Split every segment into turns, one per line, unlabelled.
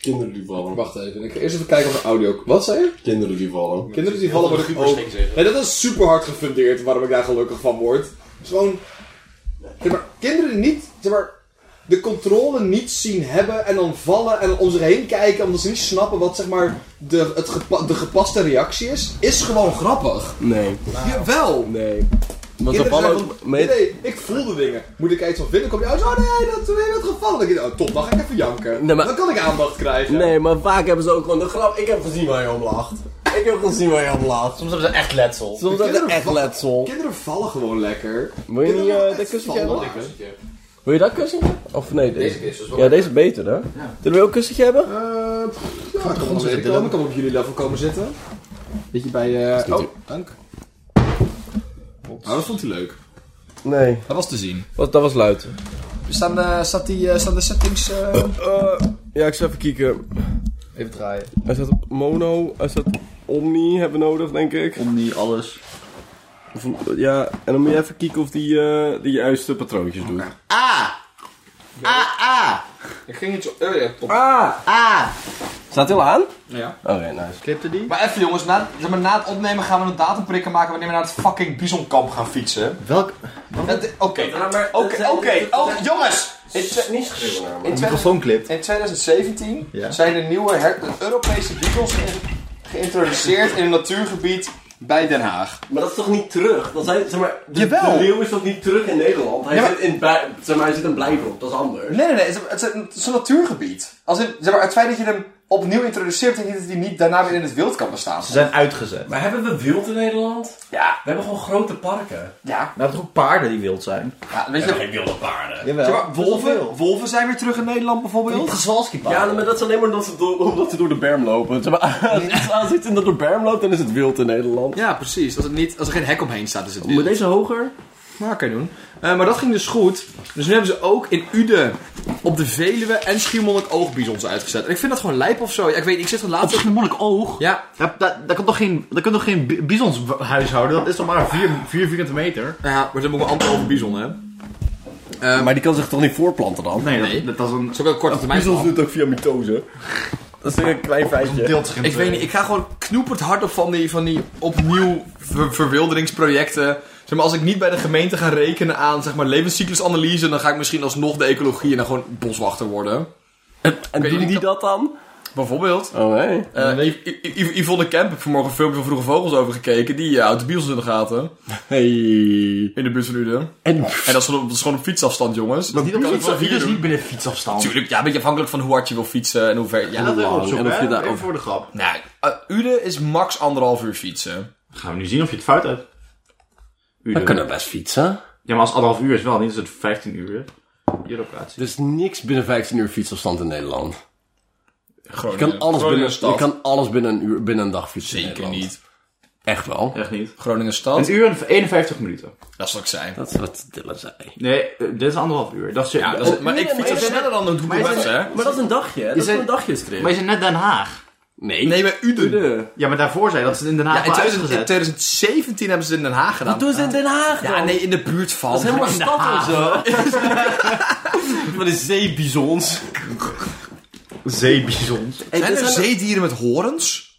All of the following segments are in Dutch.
Kinderen die vallen.
Wacht even, ik ga eerst even kijken of er audio... Wat zei je?
Kinderen die vallen.
Kinderen die vallen worden
Pubers
ook...
ging ik zeggen.
Nee, dat is super hard gefundeerd waarom ik daar gelukkig van word. Het is gewoon... Zeg maar, kinderen die niet... Zeg maar, de controle niet zien hebben en dan vallen en om zich heen kijken omdat ze niet snappen wat zeg maar de, het gepa- de gepaste reactie is, is gewoon grappig.
Nee.
Jawel!
Nee. Want ze
Kinderen
vallen
zijn
ook...
van-
Mee...
Nee, nee, ik voelde dingen. Moet ik er iets van vinden? Kom je uit? Oh nee, dat is weer het gevallen. Dan denk ik, oh top, dan ga ik even janken.
Nee, maar-
Dan kan ik aandacht krijgen.
Nee, maar vaak hebben ze ook gewoon de grap. Ik heb gezien waar je om lacht. Ik heb gezien waar je om lacht.
Soms hebben ze echt letsel.
Soms
Kinderen
hebben ze echt
vallen-
letsel.
Kinderen vallen gewoon lekker.
Wil je niet
Kinderen
eh,
vallen
dat
echt
kussentje
vallen.
hebben? Wil je dat kussentje? Of nee, deze.
keer is het wel
Ja, deze is beter, hè? Zullen we ook een kussentje hebben?
Eh, pff, ja, ik kan wel weer
zitten,
komen.
Dylan.
Ik kan op jullie level komen zitten. Beetje bij... eh oh, dank. Oh,
Nou, dat vond hij leuk.
Nee.
Dat was te zien.
Wat, dat was luid.
Staan de, staat die, eh, staan de settings... eh,
Eh, ja, ik zal even kijken.
Even draaien.
Hij staat op mono, hij staat op omni hebben we nodig, denk ik.
Om niet alles...
Of- ja, en dan moet je even kijken of die eh de juiste patroontjes doet.
Ik ging iets... Oh ja, top.
Ah! Ah! Staat hij al aan?
Ja.
Oké, nice.
Clipte die?
Maar even jongens, na, zeg maar, na het opnemen gaan we een datumprikker maken wanneer we naar het fucking bisonkamp gaan fietsen.
Welk...
Dat- Oké,
maar-
oké, oké. Oh, jongens! In, twe-
niet geschreven naar
in
De
20
microfoon clipt.
in 2017
Ja.
zijn de nieuwe her- de Europese beagles ge- geïntroduceerd in een natuurgebied bij Den Haag.
Maar dat is toch niet terug? Dan zijn, zeg maar, de,
Jawel.
de leeuw is toch niet terug in Nederland? Hij,
Ja, maar-
zit, in, bij- zeg maar, hij zit in Blijdorp, dat is anders.
Nee, nee, nee, het is- het is een, het is een natuurgebied. Als in, zeg maar, het feit dat je hem opnieuw introduceert, betekent niet dat hij niet daarna weer in het wild kan bestaan.
Ze zijn uitgezet.
Maar hebben we wild in Nederland?
Ja,
We hebben gewoon grote parken.
ja.
Nou, toch ook paarden die wild zijn?
ja weet je,
wilde paarden.
Jawel.
zeg maar, wolven, wolven zijn weer terug in Nederland bijvoorbeeld.
Ja, maar dat is alleen maar omdat ze door, omdat ze door de berm lopen. Zeg maar, als iets aan zit en dat door berm loopt, dan is het wild in Nederland.
Ja, precies. Als, het niet, als er geen hek omheen staat, is het
Moet deze hoger?
Nou, kan je doen. Eh, maar dat ging dus goed. Dus nu hebben ze ook in Uden op de Veluwe en Schiermonnik oogbizons uitgezet. En ik vind dat gewoon lijp of zo. Ja, ik weet niet, ik zit er laatst...
een moeilijk oog.
Ja,
Daar, daar, daar kan toch geen, daar kan toch geen bi- bisons w- huishouden? Dat is toch maar 4 vierkante meter?
ja, maar ze hebben ook een anderhalve bizon, hè.
maar die kan zich toch niet voorplanten dan?
Nee, dat,
Nee.
dat, is een...
Dat is ook wel een korte termijn
Piezels
plan.
doet het ook via mitose. Dat is een klein feitje.
Deelt zich in
Ik weet
twee.
niet, ik ga gewoon knoeperd hard op van die, van die opnieuw ver- verwilderingsprojecten. Zeg maar, als ik niet bij de gemeente ga rekenen aan zeg maar, levenscyclusanalyse, dan ga ik misschien alsnog de ecologie en dan gewoon boswachter worden.
En
weet
doen
niet
die
of-
dat dan?
Bijvoorbeeld.
Oh, nee.
Eh, I- I- I- Yvonne Kemp heb ik vanmorgen een filmpje van Vroege Vogels over gekeken. Die eh, houdt de biels in de gaten.
Hey.
In de buurt van Uden.
En...
En dat is, gewoon, dat is gewoon op fietsafstand, jongens.
Dat niet op
Kan
fiets-
ik wel
dat
hier
is
doen.
niet binnen fietsafstand.
Natuurlijk, ja, een beetje afhankelijk van hoe hard je wil fietsen en hoe ver. Ja,
Dat
nou,
wil ik
lang.
opzoeken,
En of je
hè?
daar-
Even voor de grap.
eh, Uden is max anderhalf uur fietsen.
Gaan we nu zien of je het fout hebt. Uur.
We kunnen best fietsen.
Ja, maar als het anderhalf uur is wel, niet is het 15 uur. Europlaats.
Er is niks binnen 15 uur fietsafstand in Nederland. Je
Groningen.
kan alles, binnen,
stad.
je kan alles binnen, een uur, binnen een dag fietsen in
Zeker
Nederland.
niet.
Echt wel.
Echt niet.
Groningen stad.
Een uur en 51 minuten.
Dat is wat ik zei.
Dat is wat Dylan zei.
Nee, eh, dit is anderhalf uur. Dat is, Oh.
Ja, dat is- maar
Oh.
ik
nee,
fiets
maar-
er sneller dan de Google Maps, hè?
Maar dat is een dagje. Dat is
het-
een dagjestrip.
Maar je zit net Den Haag.
Nee.
Nee, bij Uden.
Ude.
Ja, maar daarvoor zei je dat ze het in Den Haag
Ja, in
wel
2000 in
uitgezet.
2017 hebben ze het in Den Haag gedaan.
Doe ze in Den Haag dan.
Ja, nee, in de buurt van.
Dat is helemaal
In Den
stad of zo. Van de zeebizons.
Zeebizons.
Zijn er zeedieren met horens?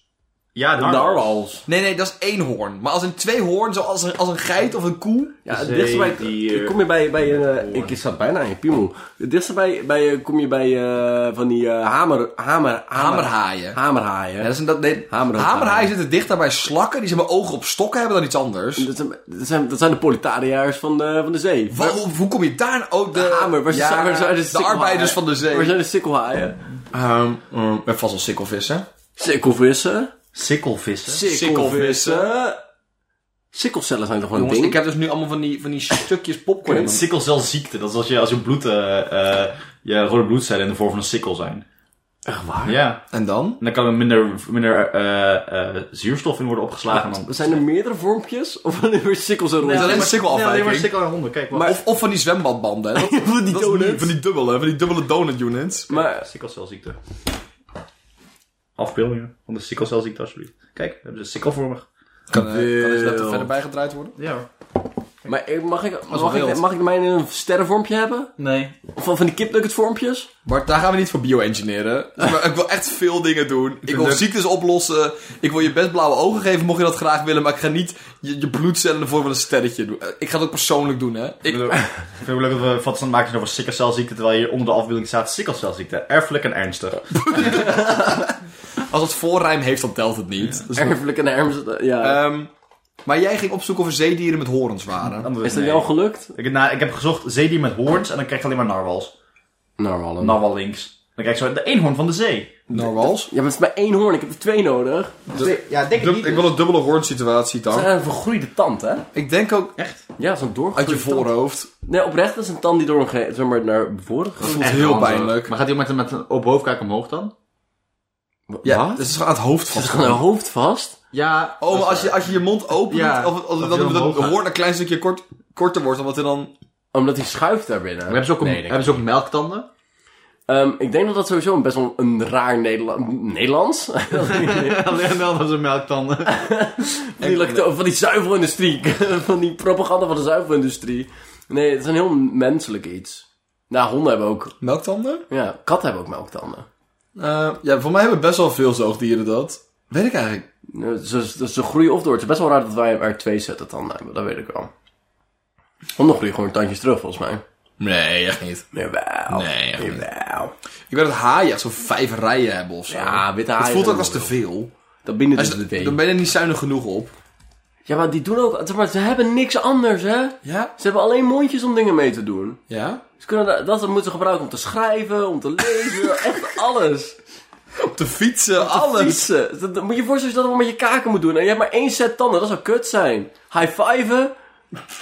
Ja,
Narwhals.
Nee, nee, dat is één hoorn. Maar als een twee hoorn, zoals een, als een geit of een koe.
Ja,
Zee-
dichtstbij
eh,
dier.
kom je bij, bij een... eh, ik zat bijna in je piemel. Dichtstbij bij, eh, kom je bij eh, van die eh, hamer, hamer, hamer,
Hamerhaaien.
hamerhaaien.
Ja, dat is een, dat, nee,
Hamerhaaien.
hamerhaaien zitten dichter bij slakken die zeg maar ogen op stokken hebben dan iets anders.
Dat zijn, dat zijn, dat zijn de proletariërs van de, van de zee.
Wa- hoe, hoe kom je daar nou? Oh, de,
De hamer, waar ze-
ja,
waar zijn de
de,
sikkelhaaien?
arbeiders van de
Waar
zee.
zijn de sikkelhaaien?
Ehm, ehm, met vast wel sikkelvissen.
Sikkelvissen.
Sikkelvissen.
Sikkelvissen. Sikkelcellen zijn toch gewoon
Jongens,
een
ik
ding?
heb dus nu allemaal van die, van die stukjes popcorn. in mijn-
Sikkelcelziekte. Dat is als je, als je bloed, eh, eh, je rode bloedcellen in de vorm van een sikkel zijn.
Echt waar?
Ja.
En dan?
En dan kan er minder, minder eh, eh, zuurstof in worden opgeslagen. Dan...
Zijn er meerdere vormpjes? Of alleen maar sikkels en
is
rond?
alleen maar
Nee, alleen maar
sikkelafwijking.
sikkel en honden. Kijk, wat.
Maar-
of, of van die zwembadbanden. hè. Dat-
Van die
dat is
donuts.
niet- van die dubbele, van die dubbele donut units.
Maar
Sikkelcelziekte. Afbeeldingen van de sikkelcelziekte, alsjeblieft. Kijk, we hebben ze sikkelvormig.
Kan, eh, kan eens
Wil.
net verder bijgedraaid worden?
Ja hoor.
Maar ik- mag ik,
wel
mag ik,
wild.
mag ik mijn in een sterrenvormpje hebben?
Nee.
Of van, van die kipnugget vormpjes?
Bart, daar gaan we niet voor bio-engineeren. Dus maar ik wil echt veel dingen doen. Ik wil
leuk.
ziektes oplossen. Ik wil je best blauwe ogen geven, mocht je dat graag willen. Maar ik ga niet je, je bloedcellen in de vorm van een sterretje doen. Eh, Ik ga dat ook persoonlijk doen, hè.
Ik
Ik,
bedoel, ik vind het leuk dat we foto's aan het maken zijn over sikkelcelziekte, terwijl hier onder de afbeelding staat sikkelcelziekte. Erfelijk en ernstig.
als het voorrijm heeft, dan telt het niet. Dus-
Erfelijk en erm ermst. eh, Ja.
Ehm, maar jij ging opzoeken of er zeedieren met horens waren.
Anders
is dat
nee.
jou gelukt?
Ik, nou, ik heb gezocht zeedier met hoorns en dan krijg je alleen maar narwals.
Nou, Wallen.
Narwal links. Dan krijg je zo de eenhoorn van de zee.
Narwals?
Ja, maar het is maar één hoorn. Ik heb er twee nodig.
Ja, denk ik niet.
Ik wil een dubbele hoornsituatie,
Dat
dan.
is een vergroeide tand, hè?
Ik denk ook
Ja, zo'n
uit
doorgroeide
je
tand.
voorhoofd.
Nee, oprecht dat is een tand die door een ge- zeg maar, naar voren gaat.
Echt heel pijnlijk.
Maar gaat hij met, een- met een op hoofdkijk omhoog dan?
Ja, dus het is gewoon aan het hoofd
Het is
vast.
gewoon een hoofd vast.
Ja.
Oh, maar als je, als je je mond opent,
Ja,
of, of,
dat hij
dat, dat
omhoog
de
gaat.
hoorn een klein stukje kort, korter wordt, omdat hij dan...
Omdat hij schuift daarbinnen.
Hebben ze ook, een-
Nee, denk ik.
hebben ze ook melktanden?
Ehm, ik denk dat dat sowieso een best wel een raar Nederla Nederlands.
Alleen wel dat ze melktanden.
van, die lacto- van die zuivelindustrie. van die propaganda van de zuivelindustrie. Nee, het is een heel menselijk iets. Nou, honden hebben ook.
Melktanden?
Ja, katten hebben ook melktanden.
Eh, ja, voor mij hebben best wel veel zoogdieren dat. Weet ik eigenlijk.
Nee, Eh, Ze, ze, ze groeien of door. Het is best wel raar dat wij er twee zetten tanden hebben. Dat weet ik wel. Honden groeien gewoon tandjes terug, volgens mij.
Nee, echt niet.
Jawel.
Nee, echt niet.
Jawel.
Ik weet dat haaien echt zo'n vijf rijen hebben of zo.
Ja, witte haaien.
Het voelt ook
hebben
als te veel.
Dat binnen
Als
dus
je-
de
dan
twee.
ben je er niet zuinig genoeg op.
Ja, maar die doen ook... zeg Maar ze hebben niks anders, hè?
Ja?
Ze hebben alleen mondjes om dingen mee te doen.
Ja?
Ze kunnen dat, dat moeten ze gebruiken om te schrijven, om te lezen, echt alles.
Op de fietsen, alles.
Fietsen. Dat, dat- moet je je voorstellen als je dat allemaal met je kaken moet doen. En je hebt maar één set tanden, dat zou kut zijn. High fiven,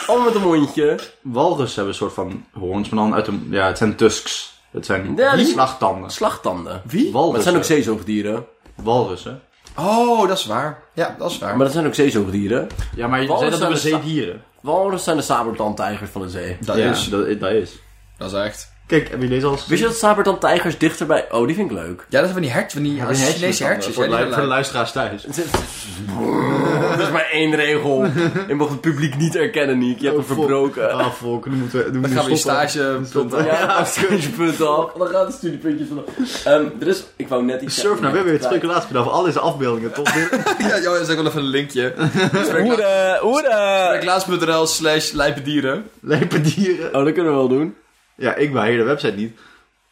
allemaal met een mondje.
Walrus hebben een soort van hoorns, maar dan uit een... Ja, het zijn tusks. Het zijn
Ja, die-
slagtanden.
Slagtanden.
Wie?
Maar dat zijn ook
Walrussen.
zeezoogdieren.
Walrussen.
Oh, dat is waar. Ja, dat is waar.
Maar dat zijn ook zeezoogdieren.
Ja, maar je
Walrussen
zei dat over
zijn de
zeedieren.
Walrus zijn de sabertandtijgers van de zee.
dat
ja,
is.
Dat, dat is.
Dat is echt.
Kijk, heb je deze al gezien?
Wist je dat sabertandtijgers dichterbij... Oh, die vind ik leuk.
Ja, dat zijn van die hertjes, van die
die hertjes
Chinese
dan,
hertjes.
Voor,
hè,
de,
die
lu- voor de
zijn
luisteraars thuis.
Er is maar één regel. Je mag het publiek niet erkennen, Niek. Je hebt hem verbroken.
Ah, volk, nu moeten we, nu
Dan
moeten
gaan we je
stoppen.
stage...
Ja, studiepunt al. Dan gaat het studiepuntje vanaf. Ehm, er is... Ik wou net iets
Surf nou, naar
zeggen, maar
www.speculatie.nl
ik kwijt.
speculatie al deze afbeeldingen. Tot weer.
Ja, joh, dat is ook wel even een linkje.
Hoera, hoera.
Reklaas.nl slash lijpendieren.
Lijpendieren.
Oh, dat kunnen we wel doen.
Ja, ik beheer de website niet.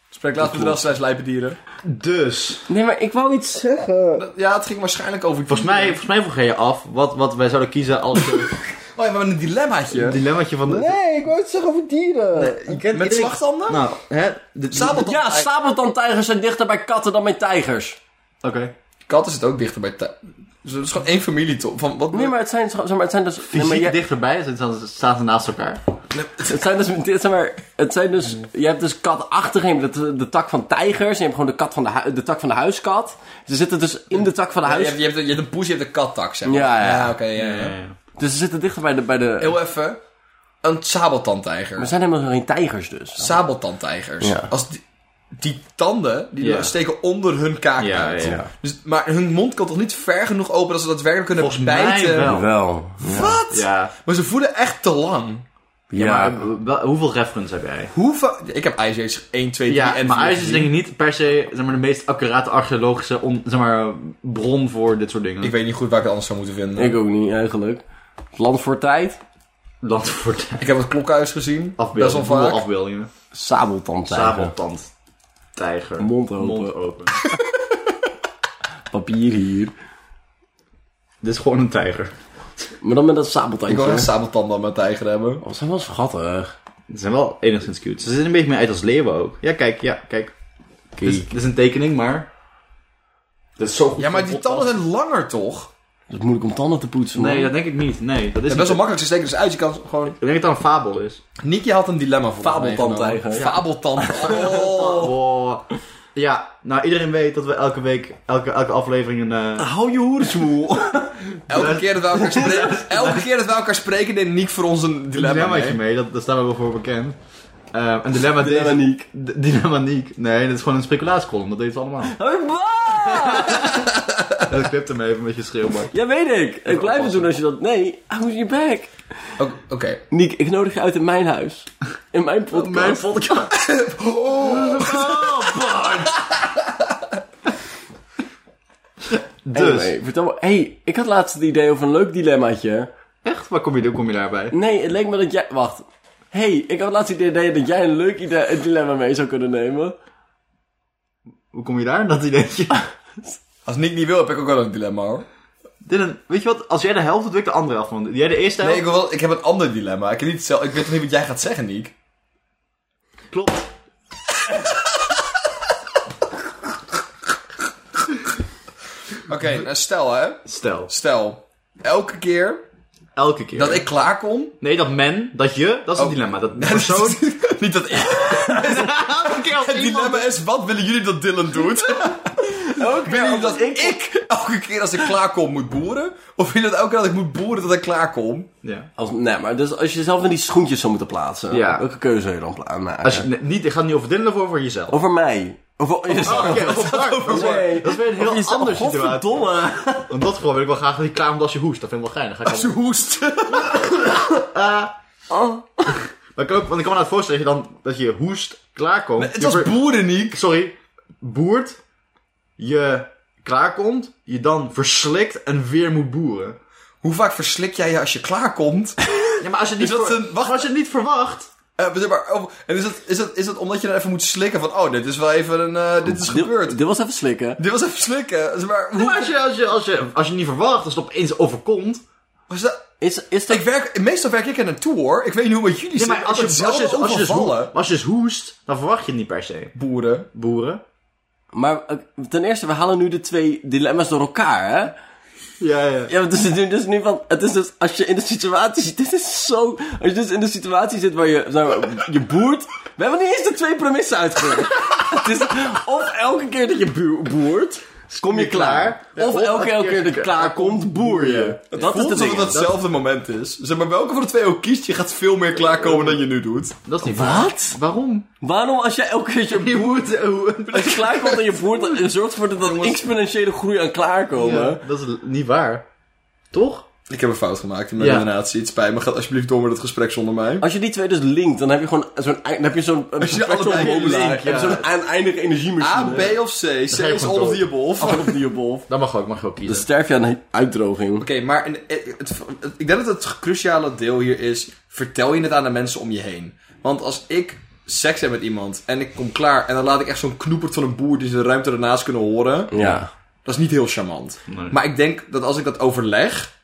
Spreeklaas.nl slash lijpendieren.
Dus,
Nee, maar ik wou iets zeggen.
Dat- Ja, het ging waarschijnlijk over...
volgens mij, volgens mij vroeg jij je af wat, wat wij zouden kiezen als eh,
Oh, ja, we hebben een dilemmaatje.
het dilemmaatje van de...
Nee, ik wou iets zeggen over dieren.
Met slagtanden?
Nou, hè? de-
Sabeltand-
Ja, sabeltandtijgers zijn dichter bij katten dan bij tijgers.
Oké.
Katten zitten ook dichter bij tij- Dus het is gewoon één familie toch? Van, wat
Nee, maar het zijn, zeg maar, het zijn dus... nee,
Fysiek
maar jij-
dichterbij,
dus
ze staan- ze staan ze naast elkaar.
Het zijn dus, dit zijn maar, het zijn dus, je hebt dus katachtig, je hebt de, de tak van tijgers, en je hebt gewoon de, kat van de, hu- de tak van de huiskat. Ze zitten dus in de tak van de
Ja, je,
huis.
hebt, je, hebt, je hebt een poes, je hebt een kattak, zeg maar.
Ja, ja.
oké, ja, ja.
Dus ze zitten dichter bij de, bij de...
Heel even. Een
Er
sabeltandtijger.
zijn helemaal geen tijgers dus.
Sabeltandtijgers.
Ja.
Als die, die tanden, die
Ja.
steken onder hun kaak
Ja,
uit.
ja, ja.
Dus, maar hun mond kan toch niet ver genoeg open dat ze daadwerkelijk kunnen
Volgens mij
bijten?
wel.
Wel.
Wat?
Ja,
Maar ze voelen echt te lang.
ja,
Ja.
maar wel- hoeveel reference heb jij?
Hoeveel... Ik heb Ice Age 1, 2, 3
Ja,
en
maar
4
IJs is denk ik niet per se zeg maar, de meest accurate archeologische on- zeg maar, bron voor dit soort dingen.
Ik weet niet goed waar ik het anders zou moeten vinden.
Ik ook niet, eigenlijk. Land voor tijd,
Land voor tijd.
Ik heb het klokhuis gezien. Best wel
Afbeeldingen.
vaak.
Hoeveel afbeeldingen?
sabeltandtijger.
Sabeltand. Tijger.
Mond open.
Mond open.
Papier hier.
Dit is gewoon een tijger.
Maar dan met dat
Ik wil
sabeltandje.
een sabeltand dan met tijger hebben.
Oh, ze zijn wel schattig.
Ze zijn wel enigszins cute. Ze zien er een beetje meer uit als leeuwen ook. Ja, kijk, ja, kijk. Dit
Dus-
is, dit is een tekening, maar... Dit is zo goed
Ja, maar
voor
die
podcast.
tanden zijn langer, toch?
Het is moeilijk om tanden te poetsen, man.
Nee, dat denk ik niet. Nee, dat is
Het
niet-
is best wel makkelijk, ze steken dus uit. Je kan gewoon...
Ik denk dat het een fabel is.
Nicky had een dilemma voor
Fabeltandtijger.
mij genomen. Fabeltand. Oh.
Wow. Ja, nou iedereen weet dat we elke week, elke, elke aflevering een... eh,
Hou je hoeren smoel.
Elke keer dat we elkaar spreken, elke keer dat we elkaar spreken neemt Nick voor ons een
dilemma
dilemma
dilemmaatje
mee.
mee, dat, daar staan we wel voor bekend. Eh, een dilemma,
Dilemma
deze-
Niek.
D- dilemma Niek. Nee, dat is gewoon een speculatiecolumn, dat weten we allemaal.
Wat?
Dat klipt hem even met je schreeuwbak.
Ja, weet ik. Ik blijf het doen als je dat... Nee, hou je bek.
Oké. oké.
Niek, ik nodig je uit in mijn huis. In Oh, mijn podcast.
Mijn podcast.
Oh,
Anyway,
Dus,
vertel me... hey, ik had laatst het idee over een leuk dilemmaatje.
echt? Waar kom je, hoe kom je daarbij?
Nee, het leek me dat jij... Wacht. hey, ik had laatst het idee dat jij een leuk idee, een dilemma mee zou kunnen nemen.
Hoe kom je daar? Dat ideetje.
Als Nick niet wil, heb ik ook wel een dilemma hoor.
Dit een, weet je wat? Als jij de helft doet, doe ik de andere helft. Want jij de eerste
Nee,
helft?
ik, wil wel, ik heb een ander dilemma. Ik, heb niet zelf, ik weet nog niet wat jij gaat zeggen, Nick.
Klopt.
Oké, nou, stel hè.
Stel,
Stel, elke keer
elke keer.
dat ik klaarkom...
Nee, dat men, dat je, dat is
Oh.
het dilemma. Dat persoon...
niet dat ik...
elke keer als
Het dilemma is, wat willen jullie dat Dylan doet?
Oké,
Willen jullie dat ik, elke keer als ik klaarkom moet boeren? Of willen jullie dat elke keer dat ik moet boeren dat ik klaarkom?
Ja.
Als, nee, maar dus als je jezelf in die schoentjes zou moeten plaatsen,
Ja.
welke keuze zou je dan pla- eh, maken?
Als je, Oh, nee, niet, ik ga het niet over Dylan of over jezelf.
Over mij. Over jezelf.
Oké, over Mark.
Nee.
Dat is weer een heel
Jezelf.
andere situatie.
Godverdomme.
In dat geval wil ik wel graag dat je klaar bent als je hoest. Dat vind ik wel geinig. Ga ik
Als je
allemaal-
hoest.
maar ik ook, want ik kan me nou voorstellen dat je dan dat je hoest klaarkomt.
Het
Je
was
ver-
boeren, Nick.
sorry, boert, je klaarkomt, je dan verslikt en weer moet boeren.
Hoe vaak verslik jij je als je klaarkomt?
Ja, maar als je het
Is
niet,
dat
ver-
een- wacht.
maar als je het niet verwacht...
Eh, zeg maar, oh, en is dat, is, dat, is dat omdat je dan even moet slikken van... Oh, dit is wel even een... eh, dit is gebeurd.
Dit, dit was even slikken.
Dit was even slikken. Zeg maar,
Ja, maar
hoe,
als je, als, je, als, je, als je niet verwacht, als het opeens overkomt...
was dat...
Is, is dat...
Ik werk, meestal werk ik aan een tour. Ik weet niet hoe met jullie
Ja,
zit.
maar als je, als je, als je, als je, als je,
overvallen.
als je dus hoest, dan verwacht je het niet per se.
Boeren.
Boeren.
Maar eh, ten eerste, we halen nu de twee dilemma's door elkaar, hè?
Ja, ja.
Ja, want het is nu, dus nu van... Het is dus, als je in de situatie zit... Dit is zo... Als je dus in de situatie zit waar je... zeg maar, je boert... We hebben niet eens de twee premissen uitgewerkt. het is of elke keer dat je bu- boert... Kom je klaar. Of elke, elke keer dat je klaar komt, boer je. Dat is
Voelt
de
alsof
ding.
het hetzelfde moment is. Zeg maar, welke van de twee ook kiest, je gaat veel meer klaarkomen dan je nu doet.
Dat is niet waar.
Wat?
Waarom?
Waarom als jij elke keer je
Je moet...
als je klaar komt en je voert, dan zorgt ervoor dat dat exponentiële groei aan klaarkomen.
Ja, dat is niet waar. Toch?
Ik heb een fout gemaakt in mijn
Ja.
redenatie. Het spijt me. Ga alsjeblieft door met het gesprek zonder mij.
Als je die twee dus linkt, dan heb je gewoon zo'n, dan heb je zo'n, een
je allebei
perpetual
linkt, Ah,
monoloog. Je
ja.
hebt zo'n eindige
A,
energiemachine.
B of C. C
ga je
is
gewoon
all of
door.
the above.
All of the above.
Dat mag ook, mag ook
Dan
kiezen.
sterf je aan een uitdroging.
Oké, maar in- eh, het- het- ik denk dat het cruciale deel hier is: vertel je het aan de mensen om je heen. Want als ik seks heb met iemand en ik kom klaar en dan laat ik echt zo'n knoepert van een boer die ze de ruimte ernaast kunnen horen,
Ja.
dat is niet heel charmant.
Nee.
Maar ik denk dat als ik dat overleg,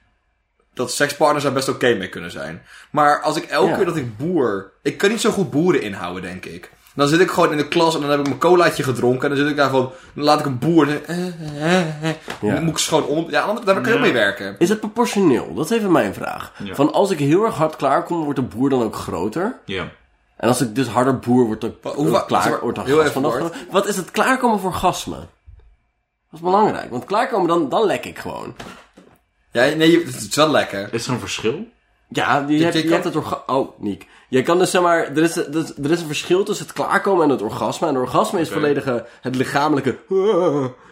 dat sekspartners daar best oké mee kunnen zijn. Maar als ik elke
Ja.
keer dat ik boer, ik kan niet zo goed boeren inhouden, denk ik. Dan zit ik gewoon in de klas en dan heb ik mijn colaatje gedronken. En dan zit ik daar van, dan laat ik een boer. en- eh, eh, eh.
Ja.
Dan moet ik ze gewoon om. Ja, anders- daar kan ik ook mee werken.
Is het proportioneel? Dat is even mijn vraag.
Ja.
Van als ik heel erg hard klaarkom, wordt de boer dan ook groter?
Ja.
En als ik dus harder boer word, dan
Wat- hoe
wordt
wa- zeg
klaar,
maar,
wordt dan
heel
gasmen
even
nog
kort.
groter. Wat is het klaarkomen voor gasmen? Dat is belangrijk, want klaarkomen dan, dan lek ik gewoon.
Ja, nee, je- het is wel lekker.
Is er een verschil?
Ja, je, hebt,
je
je
kan-
hebt het orgasme. Oh, Niek. Je kan dus zeg maar. Er is, er is- er is een verschil tussen het klaarkomen en het orgasme. En het orgasme is volledige. Het lichamelijke.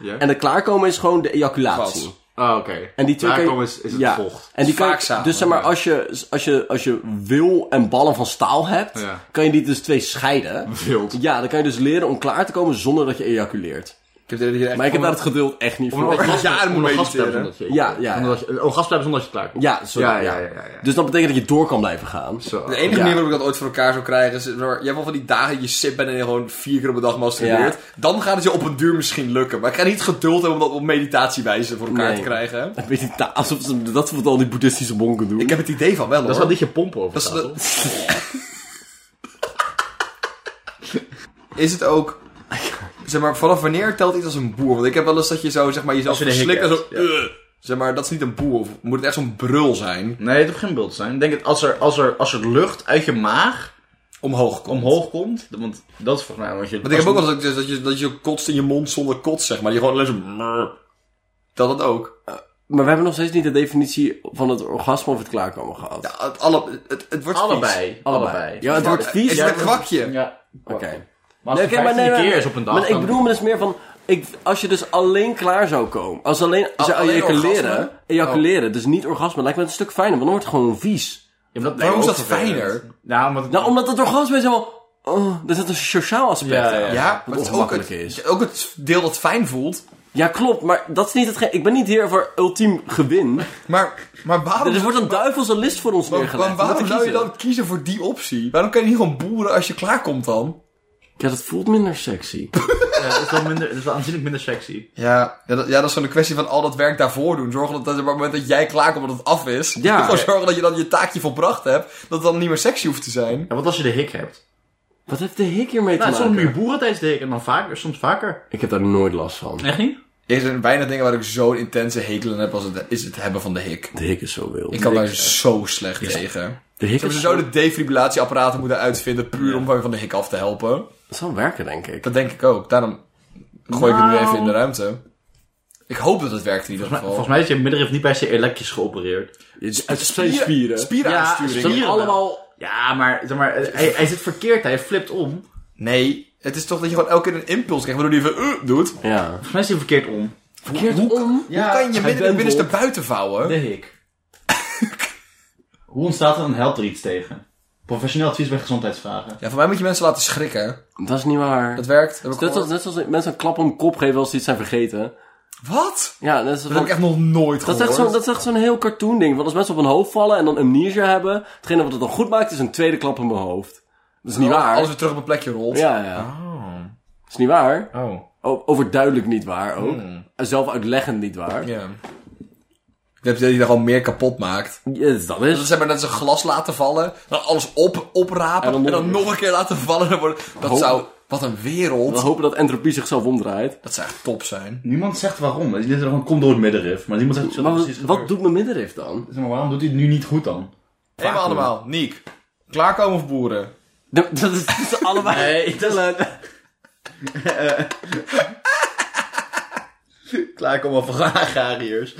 Ja.
En het klaarkomen is gewoon de ejaculatie.
Gas.
Ah, oké.
En die twee kan je-
Daarom is, is het
ja.
vocht.
En die kan je-
Vaak samen,
dus zeg maar,
ja.
als je, als, je, als je wil en ballen van staal hebt,
Ja.
kan je die dus twee scheiden.
Wild.
Ja, dan kan je dus leren om klaar te komen zonder dat je ejaculeert.
Ik heb de idee dat je echt
Maar ik
gewoon-
heb daar het geduld echt niet voor.
orgasme- Ja, dan moet
Om een
mediteren.
gas te hebben zonder dat je...
Ja, ja,
Omdat je, een gas te hebben zonder dat je klaar komt.
Ja, sorry,
Ja, ja, ja, ja.
Dus dat betekent dat je door kan blijven gaan.
Zo.
De enige
Ja.
manier waarop ik dat ooit voor elkaar zou krijgen is... zeg maar, Je hebt wel van die dagen dat je sip bent en je gewoon vier keer op een dag masturbeert.
Ja.
Dan gaat het je op een duur misschien lukken. Maar ik ga niet geduld hebben om dat op meditatiewijze voor elkaar
Nee.
te krijgen.
Ik weet niet, alsof ze dat wat al die boeddhistische monken doen.
Ik heb het idee van wel,
Dat is
hoor.
wel niet je pompen over
Dat is
staat,
de-
toch?
Is het ook... Zeg maar, vanaf wanneer telt iets als een boer? Want ik heb wel eens dat je zo, zeg maar, jezelf
Als je de hik
verslikt en zo...
hebt, ja.
"Ugh." Zeg maar, dat is niet een boer. Of moet het echt zo'n brul zijn?
Nee, het hoeft geen beeld te zijn. Ik denk dat als er, als, er, als er lucht uit je maag
Omhoog komt.
omhoog komt... Want dat is volgens mij wat je...
Want ik heb ook wel eens dat, je- dat je, dat je kotst in je mond zonder kots, zeg maar. Je gewoon alleen zo... Dat dat ook.
Maar we hebben nog steeds niet de definitie van het orgasme of het klaarkomen gehad.
Ja, het, alle, het, het wordt vies.
Allebei. Allebei.
Ja, het wordt
Is
vies.
het een kwakje?
Ja.
Oké.
Maar als het
oké, maar
15
maar-
keer is op een dag...
Maar ik
dan-
bedoel me dus meer van... Ik, als je dus alleen klaar zou komen. Als alleen, als je
alleen
ejaculeren.
Oh.
orgasme?
Ejaculeren, dus niet orgasme. Lijkt me het een stuk fijner, want dan wordt het gewoon vies.
Ja, maar dat
Waarom is
ook
dat
vervelend.
fijner?
Nou, omdat...
Nou, omdat het orgasme is helemaal... Oh, er zit een sociaal aspect
Ja, ja,
aan.
ja.
Ja, maar het is ook het,
ongemakkelijk is.
ook het deel dat fijn voelt.
Ja, klopt, maar dat is niet hetgeen... Ik ben niet hier voor ultiem gewin.
Maar, maar waarom,
Er wordt een duivelse list voor ons
waarom,
neergelegd. om
waarom
te
zou je
kiezen.
dan kiezen voor die optie? Waarom kan je niet gewoon boeren als je klaarkomt dan?
Ja, dat voelt minder sexy.
Ja, dat, is wel minder, dat is wel aanzienlijk minder sexy.
Ja, ja, dat, ja, dat is gewoon een kwestie van al dat werk daarvoor doen. Zorgen dat, dat op het moment dat jij klaarkomt dat het af is.
Ja.
Gewoon zorgen dat je dan je taakje volbracht hebt. Dat het dan niet meer sexy hoeft te zijn.
Ja, want als je de hik hebt...
Wat heeft de hik hiermee te
Nou, soms
maken?
moet je boeren tijdens de hik en dan vaker, soms vaker.
Ik heb daar nooit last van.
Echt niet?
Er zijn weinig dingen waar ik zo'n intense hekel aan heb als het, is het hebben van de hik.
De hik is zo wild.
Ik kan daar zo slecht tegen.
De hik
Ze
is
zouden
zo...
defibrillatieapparaten moeten uitvinden puur om van de hik af te helpen.
Dat zal werken, denk ik.
Dat denk ik ook. Daarom gooi ik het nu
Nou.
even in de ruimte. Ik hoop dat het werkt in ieder geval.
Volgens mij is je middenrif niet per se elektrisch geopereerd.
Het is
Spieraansturing.
Ja, spieren
allemaal...
Ja, maar, zeg maar hij, hij zit verkeerd, hij flipt om. Volgens
Nee, het is toch dat je gewoon elke keer een impuls krijgt waardoor die even uh, doet.
Ja.
mij is hij verkeerd om.
Verkeerd om.
Ja,
kan je midden de
wentelt.
binnenste buiten vouwen?
De hik. Hoe ontstaat er een helpt er iets tegen? Professioneel advies bij gezondheidsvragen.
Ja, voor mij moet je mensen laten schrikken.
Dat is niet waar.
Dat werkt. Heb ik
Net als,
gehoord.
net zoals mensen een klap om de kop geven als ze iets zijn vergeten.
Wat?
Ja, net zoals
Dat heb ik echt nog nooit
dat
gehoord.
is echt zo'n- dat is echt zo'n heel cartoon ding. Want als mensen op hun hoofd vallen en dan amnesia hebben... Hetgene wat het dan goed maakt is een tweede klap in mijn hoofd. Dat is niet waar.
Als weer terug op een plekje rolt.
Oh. Ja, ja. Dat is niet waar.
Oh.
O- overduidelijk niet waar ook. En Zelf uitleggend niet waar.
Ja. Ik heb het idee dat je er gewoon meer kapot maakt.
Yes, dus dat
Dat
is...
is zeg maar net als een glas laten vallen, dan alles op, oprapen en dan, nog een keer laten vallen. Dan wordt, dat
Hoop-
zou, wat een
We
wereld.
hopen dat entropie zichzelf omdraait.
Dat zou echt top zijn.
Niemand zegt waarom. Hij zit er gewoon, kom door het middenrif. Maar niemand zegt, zo
Maar wat,
precies
wat
gebeurt.
doet mijn middenrif dan?
Zeg maar, waarom doet hij het nu niet goed dan?
Helemaal allemaal, Niek. Klaarkomen of boeren?
Dat dat is, dat is allebei...
Nee, dat is... Klaar, kom op, van agrariërs.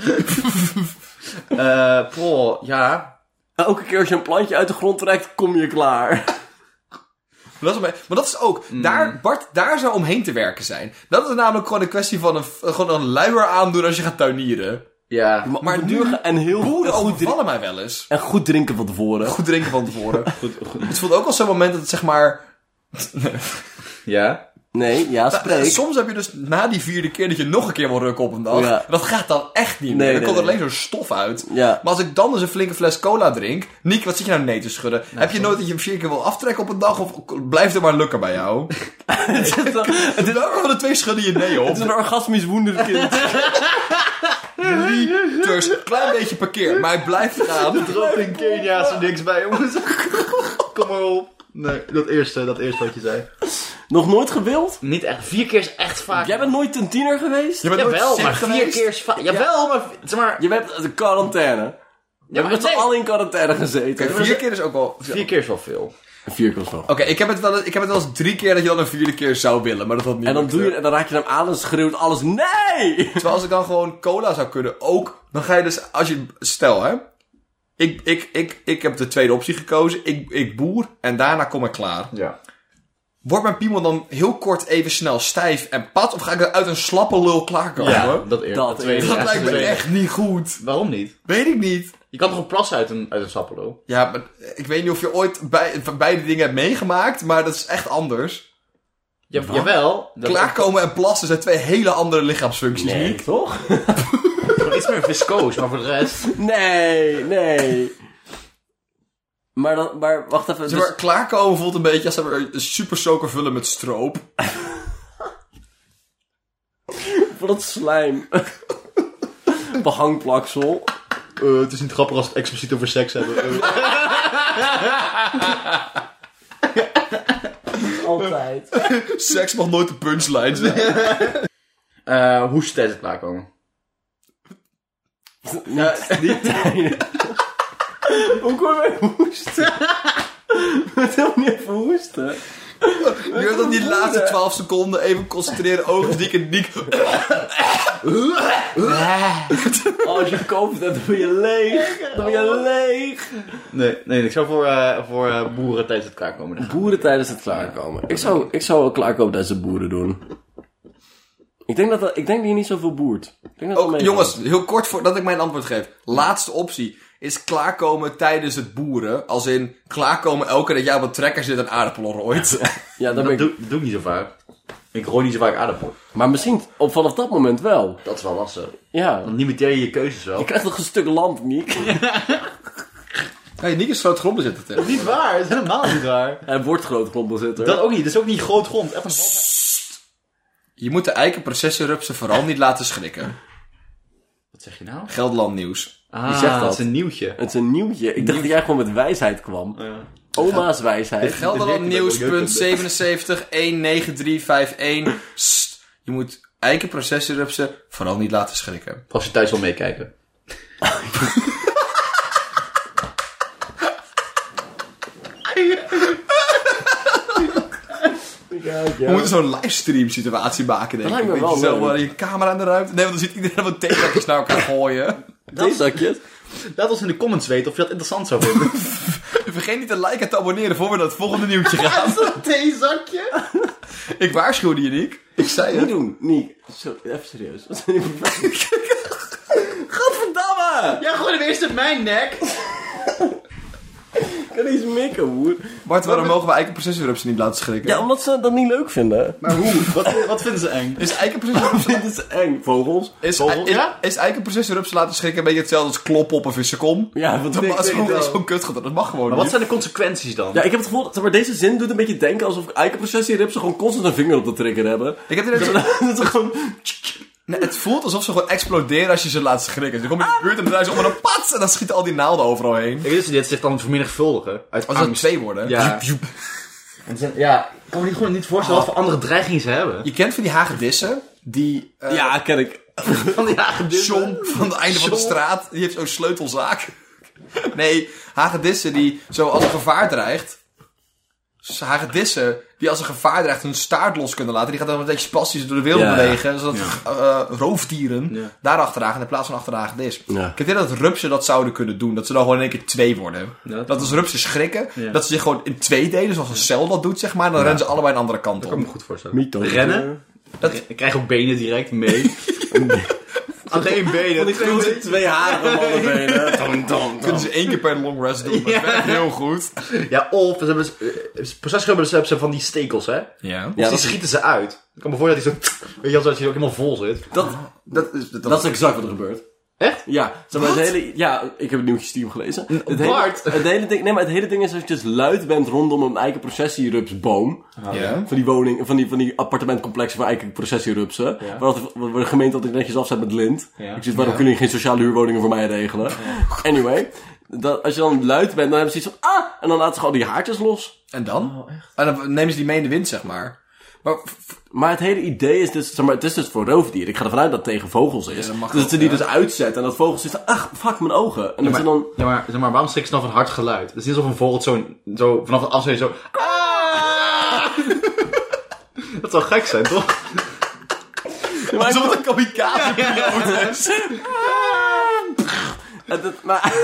Eh, pro, ja.
Elke keer als je een plantje uit de grond trekt, kom je klaar.
Maar dat is, maar dat is ook, daar, Bart, daar zou omheen te werken zijn. Dat is namelijk gewoon een kwestie van een, gewoon een luier aandoen als je gaat tuinieren.
Ja.
Maar nu-
Bedurige en heel
Boeren
en goed, drinken,
overvallen mij wel eens.
en goed drinken van tevoren.
Goed drinken van tevoren. Het voelt ook wel zo'n moment dat het zeg maar...
Ja?
Nee, ja, spreek.
Soms heb je dus na die vierde keer dat je nog een keer wil rukken op een dag.
Ja.
Dat gaat dan echt niet meer.
Nee,
dan
nee,
komt er
nee.
alleen zo'n stof uit.
Ja.
Maar als ik dan dus een flinke fles cola drink... Niek, wat zit je nou nee te schudden? heb je nooit dat je hem vier keer wil aftrekken op een dag? Of blijft er maar lukken bij jou?
het, is een, het
Het is ook wel de twee schudden je nee op.
is een orgasmisch woedend kind.
Dus een klein beetje parkeer, maar hij blijft gaan.
Droog in Kenia is er niks bij, jongens. Kom maar op. Nee, dat eerste, dat eerste wat je zei.
Nog nooit gewild?
Niet echt. Vier keer is echt vaak.
Jij bent nooit een tiener geweest?
Je bent nooit
Jawel,
sick
maar vier
geweest.
keer is vaak. Jawel, maar... Zeg maar...
Je bent de quarantaine.
Ja,
We
maar
hebben z'n
nee.
allen in quarantaine gezeten.
Oké, Vier keer is ook wel... Oké,
Vier keer is wel veel.
Vier keer wel.
ik, heb het wel eens- ik heb het wel eens drie keer dat je dan een vierde keer zou willen, maar dat had niet
En dan,
lukte.
doe je, en dan raak je hem aan en schreeuwt alles nee!
Terwijl als ik dan gewoon cola zou kunnen, ook... Dan ga je dus... Als je... Stel, hè. Ik, ik, ik, ik heb de tweede optie gekozen. Ik, ik boer en daarna kom ik klaar.
Ja.
Wordt mijn piemel dan heel kort even snel stijf en pat? Of ga ik er uit een slappe lul klaarkomen?
dat eerst.
Dat eerst.
Dat lijkt me echt niet goed.
Waarom niet?
Weet ik niet.
Je kan toch een plas uit een, uit een sappelo?
Ja, maar ik weet niet of je ooit bij, van beide dingen hebt meegemaakt, maar dat is echt anders.
Ja, jawel. Dat
Klaarkomen en plassen zijn twee hele andere lichaamsfuncties. Niek.
toch?
Gewoon iets meer viscoos, maar voor de rest...
Nee, nee. Maar, dan, maar wacht even.
Zeg maar,
Dus,
klaarkomen voelt een beetje als we een super soaker vullen met stroop.
voor dat slijm. Behangplaksel.
Eh, het is niet grappig als we het expliciet over seks hebben. Eh,
Altijd.
Seks mag nooit de punchline zijn.
Eh, hoe tijdens het klaarkomen?
Niet, niet tijdens. Hoe kom je bij hoesten? Met helemaal niet even hoesten.
Nu heb dan die laatste 12 seconden even concentreren, ogen dik en dik.
Oh, Als je koopt, dan ben je leeg. Dan ben je leeg.
Nee, nee, ik zou voor, eh, voor eh, boeren tijdens het klaarkomen.
Boeren tijdens het klaarkomen. Ik zou, ik zou wel klaarkomen tijdens de boeren doen. Ik denk dat, dat, ik denk dat je niet zoveel boert. Ik denk dat dat
Ook,
meevalt.
jongens, heel kort voordat ik mijn antwoord geef. Laatste optie is klaarkomen tijdens het boeren. Als in klaarkomen elke dat jij op een trekker zit en aardappelen rooit.
Ja, dat ben
Dat
ik.
doe, doe ik niet zo vaak. Ik gooi niet zo vaak aardappel.
Maar misschien op, vanaf dat moment wel.
Dat is wel lastig.
Ja.
Dan limiteer je je keuzes wel.
Je krijgt nog een stuk land, Niek.
Hé, hey, Nick is groot grond bezitten tegen.
niet waar, dat is helemaal niet waar.
Hij wordt groot grondbezitter.
Dat ook niet, dat is ook niet groot grond. Even een half-
Je moet de eikenprocessenrupsen vooral niet laten schrikken.
Wat zeg je nou?
Gelderland nieuws.
Ah,
zegt dat?
dat is een nieuwtje.
Het is een nieuwtje. Ik dacht dat jij gewoon met wijsheid kwam. Oma's wijsheid.
Gelderland nieuws,
dat ik ook
punt 77 19351. Sst. Je moet eikenprocessenrupsen vooral niet laten schrikken.
Als je thuis wil meekijken.
We moeten zo'n livestream situatie maken, denk
Dat
ik.
lijkt me
Weet je,
wel
zo
leuk.
waar je camera in de ruimte. Nee, want dan ziet iedereen wat theezakjes naar elkaar gooien.
Theezakjes?
Laat ons in de comments weten of je dat interessant zou vinden.
Vergeet niet te liken en te abonneren voor we naar het volgende nieuwtje gaan.
Een theezakje?
ik waarschuwde je, Nick. Ik zei
Niet
het.
doen, Niek. Zo, even serieus. Wat zijn die voor vragen? Gadverdamme!
Ja, gooi hem eerst in mijn nek.
Ik kan niet eens mikken, hoer.
Bart, waarom mogen we eikenprocessenrupsen niet laten schrikken?
Ja, omdat ze dat niet leuk vinden.
Maar hoe? Wat, wat vinden ze eng?
Is eikenprocessenrupsen...
Dit is eng. Vogels?
Is,
Vogel,
is,
ja?
is eikenprocessenrupsen laten schrikken een beetje hetzelfde als kloppen op een vissenkom?
Ja, wat
Dat
ik
was
denk
gewoon
wel.
zo'n kutgedrag. Dat mag gewoon
Maar wat
niet.
zijn de consequenties dan?
Ja, ik heb het gevoel, zeg maar, deze zin doet een beetje denken alsof eikenprocessierupsen gewoon constant een vinger op de trigger hebben.
Ik heb het idee dat ze-
Dat is gewoon...
Nee, het voelt alsof ze gewoon exploderen als je ze laat schrikken. Ze komen in de buurt en dan draaien ze om en dan pats! En dan schieten al die naalden overal heen.
Ik weet dat ze dit zich dan vermenigvuldigen. Uit
Als dat
angst.
twee worden.
Ja.
Joep, joep.
En ze- ja, ik kan me niet, gewoon niet voorstellen wat voor andere dreigingen ze hebben.
Je kent van die hagedissen? Die... eh,
Ja, ken ik.
Van die hagedissen.
John van het einde van de
John.
straat. Die heeft zo'n sleutelzaak. Nee, hagedissen die zo als een gevaar dreigt. Dus Hagedissen die als een gevaar dreigt hun staart los kunnen laten. Die gaat dan een beetje spastisch door de wereld
Ja, ja.
bewegen. Zodat eh, roofdieren
Ja.
daar achteraan gaan in plaats van achter de hagedis.
Ja.
Ik denk dat rupsen dat zouden kunnen doen. Dat ze dan gewoon in één keer twee worden.
Ja.
dat als rupsen schrikken,
Ja.
dat ze zich gewoon in twee delen. Zoals een cel dat doet, zeg maar. Dan rennen ze allebei een andere kant
Ik kan
op.
me goed voorstellen.
Mytho. Eh,
Rennen.
Dat-
Ik krijg ook benen direct mee. Alleen benen.
Ik wil ze twee haren op alle benen. Dom, dom, dom.
Kunnen ze één keer per long rest doen. Dat werkt heel goed.
Ja, of ze hebben dus, eh, procesrubbers hebben ze van die stekels, hè?
Ja.
Ja,
Ja,
die
dat,
schieten ze uit. Ik kan me voorstellen dat hij zo... Weet je, wel, dat hij ook helemaal vol zit.
dat,
Dat is, dat,
dat is exact wat er gebeurt.
Echt?
Ja, zeg maar, het hele, ja, ik heb het nieuwtje Steam gelezen. Het
Bart!
Hele, het hele ding, nee, maar het hele ding is als je dus luid bent rondom een eikenprocessierupsboom.
Ja.
Van die woning, van die, van die appartementcomplexen waar eikenprocessierupsen.
Ja.
Waar, altijd- waar de gemeente altijd netjes afzet met lint.
Ja.
Ik zit, waarom kunnen jullie geen sociale huurwoningen voor mij regelen? Anyway, dat, als je dan luid bent, dan hebben ze iets van, ah! En dan laten ze gewoon die haartjes los.
En dan? En dan nemen ze die mee in de wind, zeg maar. Maar f- f-
Maar het hele idee is dus, zeg maar, het is dus voor roofdieren. Ik ga ervan uit dat het tegen vogels is.
dat mag
dus dat
ook,
ze die
ja.
dus uitzetten en dat vogels is ach, fuck mijn ogen. En dat ze dan...
Ja, maar, zeg maar waarom schrikken ze dan van hard geluid? Het is niet alsof een vogel zo, zo vanaf een afstand zo... "Ah!" dat zou gek zijn, toch?
alsof het een kamikaze is.
Het, het- maar...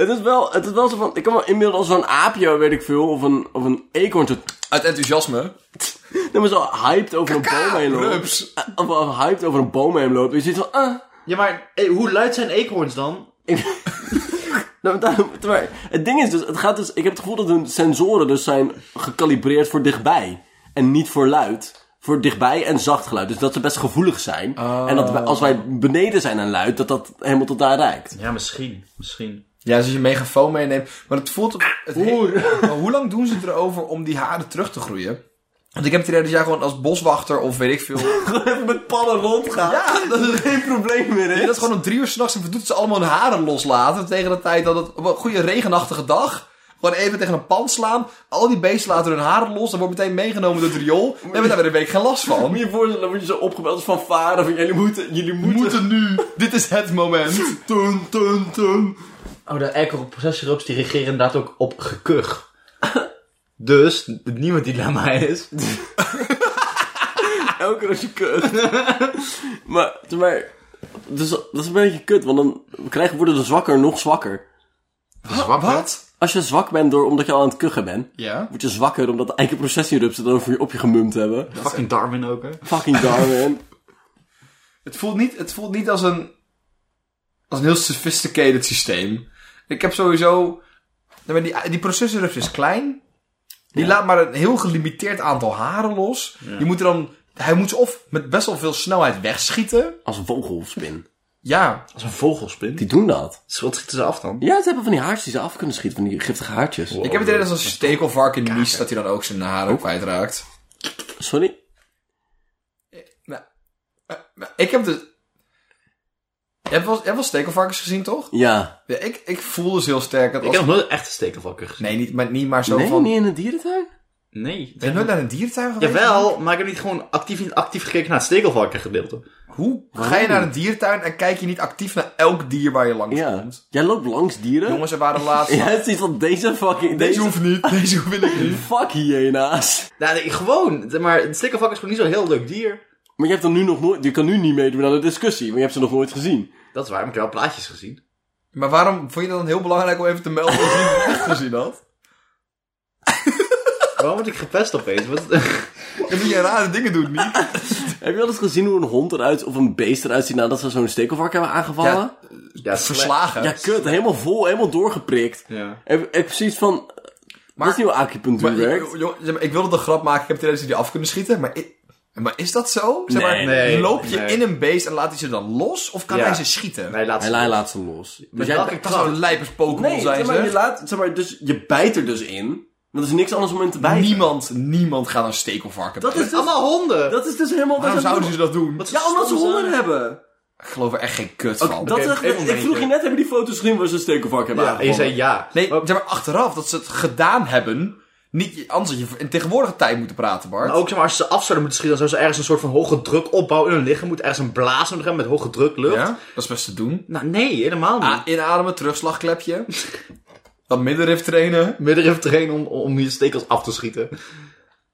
het is wel, het is wel zo van, ik kan wel inmiddels als zo'n aapje, weet ik veel, of een, of een eekhoorn zo,
Uit enthousiasme.
nee, maar zo hyped over een boom heen loopt.
Rups.
Eh, Of, of hyped over een boom heen loopt. En je ziet van, ah.
Ja, maar eh, hoe luid zijn eekhoorns dan?
Nou, daarom- terwijl- het ding is dus, het gaat dus, ik heb het gevoel dat hun sensoren dus zijn gecalibreerd voor dichtbij. En niet voor luid. Voor dichtbij en zacht geluid. Dus dat ze best gevoelig zijn. En dat wij- als wij beneden zijn aan luid, dat dat helemaal tot daar reikt.
Ja, misschien. Misschien.
Ja, dus als je een megafoon meeneemt. Maar het voelt... Het maar hoe lang doen ze het erover om die haren terug te groeien? Want ik heb het idee dat jij gewoon als boswachter of weet ik veel...
Gewoon even met pannen rondgaan.
Ja,
dat is geen probleem meer,
dat is gewoon om drie uur s'nachts en verdoet ze allemaal hun haren loslaten. Tegen de tijd dat het op een goede regenachtige dag... Gewoon even tegen een pand slaan. Al die beesten laten hun haren los. Dan wordt meteen meegenomen door het riool. Dan hebben we daar weer een week geen last van.
Moet je je voorstellen, dan word je zo opgebeld als van varen van jullie moeten, jullie moeten.
nu. Dit is het moment. Tun, tun, tun.
Oh, de eikelprocesrups die reageren inderdaad ook op gekuch. dus, het nieuwe dilemma is...
Elke keer als je kut. maar, zeg maar, dus, dat is een beetje kut, want dan krijgen, worden de zwakker nog zwakker.
Zwakker?
Wat?
als je zwak bent door, omdat je al aan het kuchen bent,
Ja?
word je zwakker omdat de eigen processierupsen dan over je op je gemumd hebben.
Fucking Darwin ook, hè?
Fucking Darwin.
Het voelt niet, het voelt niet als een, als een heel sophisticated systeem. Ik heb sowieso, nou, maar die, die processorrups is klein. Die laat maar een heel gelimiteerd aantal haren los. Je moet er dan, hij moet ze of met best wel veel snelheid wegschieten.
Als een vogelspin.
Ja,
Als een vogelspin.
Die doen dat.
Wat schieten ze af dan?
Ja, ze hebben van die haartjes die ze af kunnen schieten, van die giftige haartjes.
ik heb het idee dat als een stekelvark in de nies dat hij dan ook zijn haren kwijtraakt.
Sorry?
Maar Ik heb dus... Je hebt wel, je hebt wel stekelvarkens gezien, toch?
Ja.
Ja, ik, ik voel dus heel sterk dat
Ik
als...
heb nog nooit echt een stekelvakker gezien.
Nee, niet maar, niet maar zo
nee,
van...
niet in een dierentuin?
Nee.
Ben je nooit naar een dierentuin geweest?
Jawel, maar ik heb niet gewoon actief, niet actief gekeken naar het stekelvarkengedeelte.
Hoe ga je naar een dierentuin en kijk je niet actief naar elk dier waar je langs
Ja.
komt?
Jij loopt langs dieren?
Jongens, er waren laatst...
Ja, het is iets van deze fucking...
Deze
Deze,
hoeft niet, deze hoef ik niet.
fuck hyena's.
Nou, nee, gewoon. Maar een stekelvarken is gewoon niet zo'n heel leuk dier.
Maar je hebt dan nu nog nooit... Je kan nu niet meedoen aan de discussie, want je hebt ze nog nooit gezien.
Dat is waar, maar ik heb wel plaatjes gezien.
Maar waarom vond je het dan heel belangrijk om even te melden dat je het echt gezien had?
Waarom word ik gepest opeens? Wat...
En dat je rare dingen doet, niet?
Heb je wel eens gezien hoe een hond eruit of een beest eruit ziet nadat ze zo'n stekelvark hebben aangevallen?
Ja,
Ja,
Verslagen.
kut. Helemaal vol, helemaal doorgeprikt.
Ja.
Heb, heb precies van... dat is niet hoe acupunctuur
Maar,
werkt.
ik- jong- zeg maar, ik wilde de grap maken, ik heb het idee dat ze die af kunnen schieten, maar, i- maar is dat zo? Zeg maar,
Nee,
nee,
loop je
nee.
in een beest en laat hij ze dan los, of kan
Ja.
hij ze schieten?
Nee, laat
Hij
ze.
laat- laat ze los. Dus
Met
jij-
welke
Dat zou een
kracht?
lijpers Pokémon
Nee,
zijn,
zeg maar, je,
zeg.
laat, zeg maar, dus, je bijt er dus in. Want er is niks anders om in te bijten.
Niemand, niemand gaat een stekelvarken
Dat
bellen.
is dus,
Allemaal honden!
dat is dus helemaal...
Waarom
dat is-
zouden ze dat doen?
Ja, omdat ze honger hebben.
Ik geloof er echt geen kut
Oké,
van.
dat is echt-
even een
ik vroeg je
momentje.
net, hebben die foto's gezien waar ze een stekelvark hebben
Ja, en je
aangevallen?
zei ja.
Nee, zeg maar achteraf dat ze het gedaan hebben. Niet, anders had je in tegenwoordige tijd moeten praten, Bart.
Maar Nou, ook zeg maar, als ze af zouden moeten schieten, dan zouden ze ergens een soort van hoge druk opbouwen in hun lichaam. Moet ergens een blaas nodig hebben met hoge druk lucht.
ja, dat is best te doen.
Nou, nee, helemaal niet.
Ah, inademen, terugslagklepje. dat middenrif trainen.
Middenrif trainen om, om je stekels af te schieten.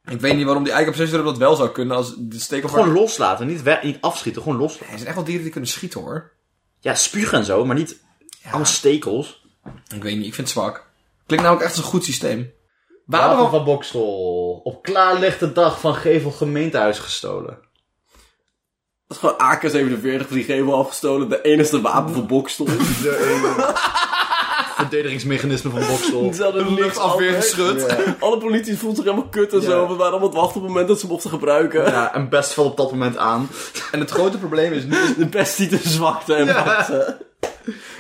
Ik weet niet waarom die eikenprocessor dat wel zou kunnen als de stekelvarken...
Gewoon loslaten, niet, we- niet afschieten, gewoon loslaten.
Er zijn echt wel dieren die kunnen schieten, hoor.
Ja, spugen en zo, maar niet allemaal stekels.
Ik weet niet, ik vind het zwak. Klinkt namelijk echt als een goed systeem. Waarom...
Wapen van Bokstel. Op klaarlichte dag van Gevel gemeentehuis gestolen.
Dat is gewoon AK-47 van die gevel afgestolen. De enige wapen van Bokstel.
Verdedigingsmechanisme van Bokstel.
Ze hadden niks
luchtafweer
anders.
geschud.
Alle politici voelden zich helemaal kut en zo. We waren allemaal aan het wachten op het moment dat ze hem mochten gebruiken.
Ja, en best veel op dat moment aan.
En het grote probleem is nu...
De pest die de zwakte en wachten.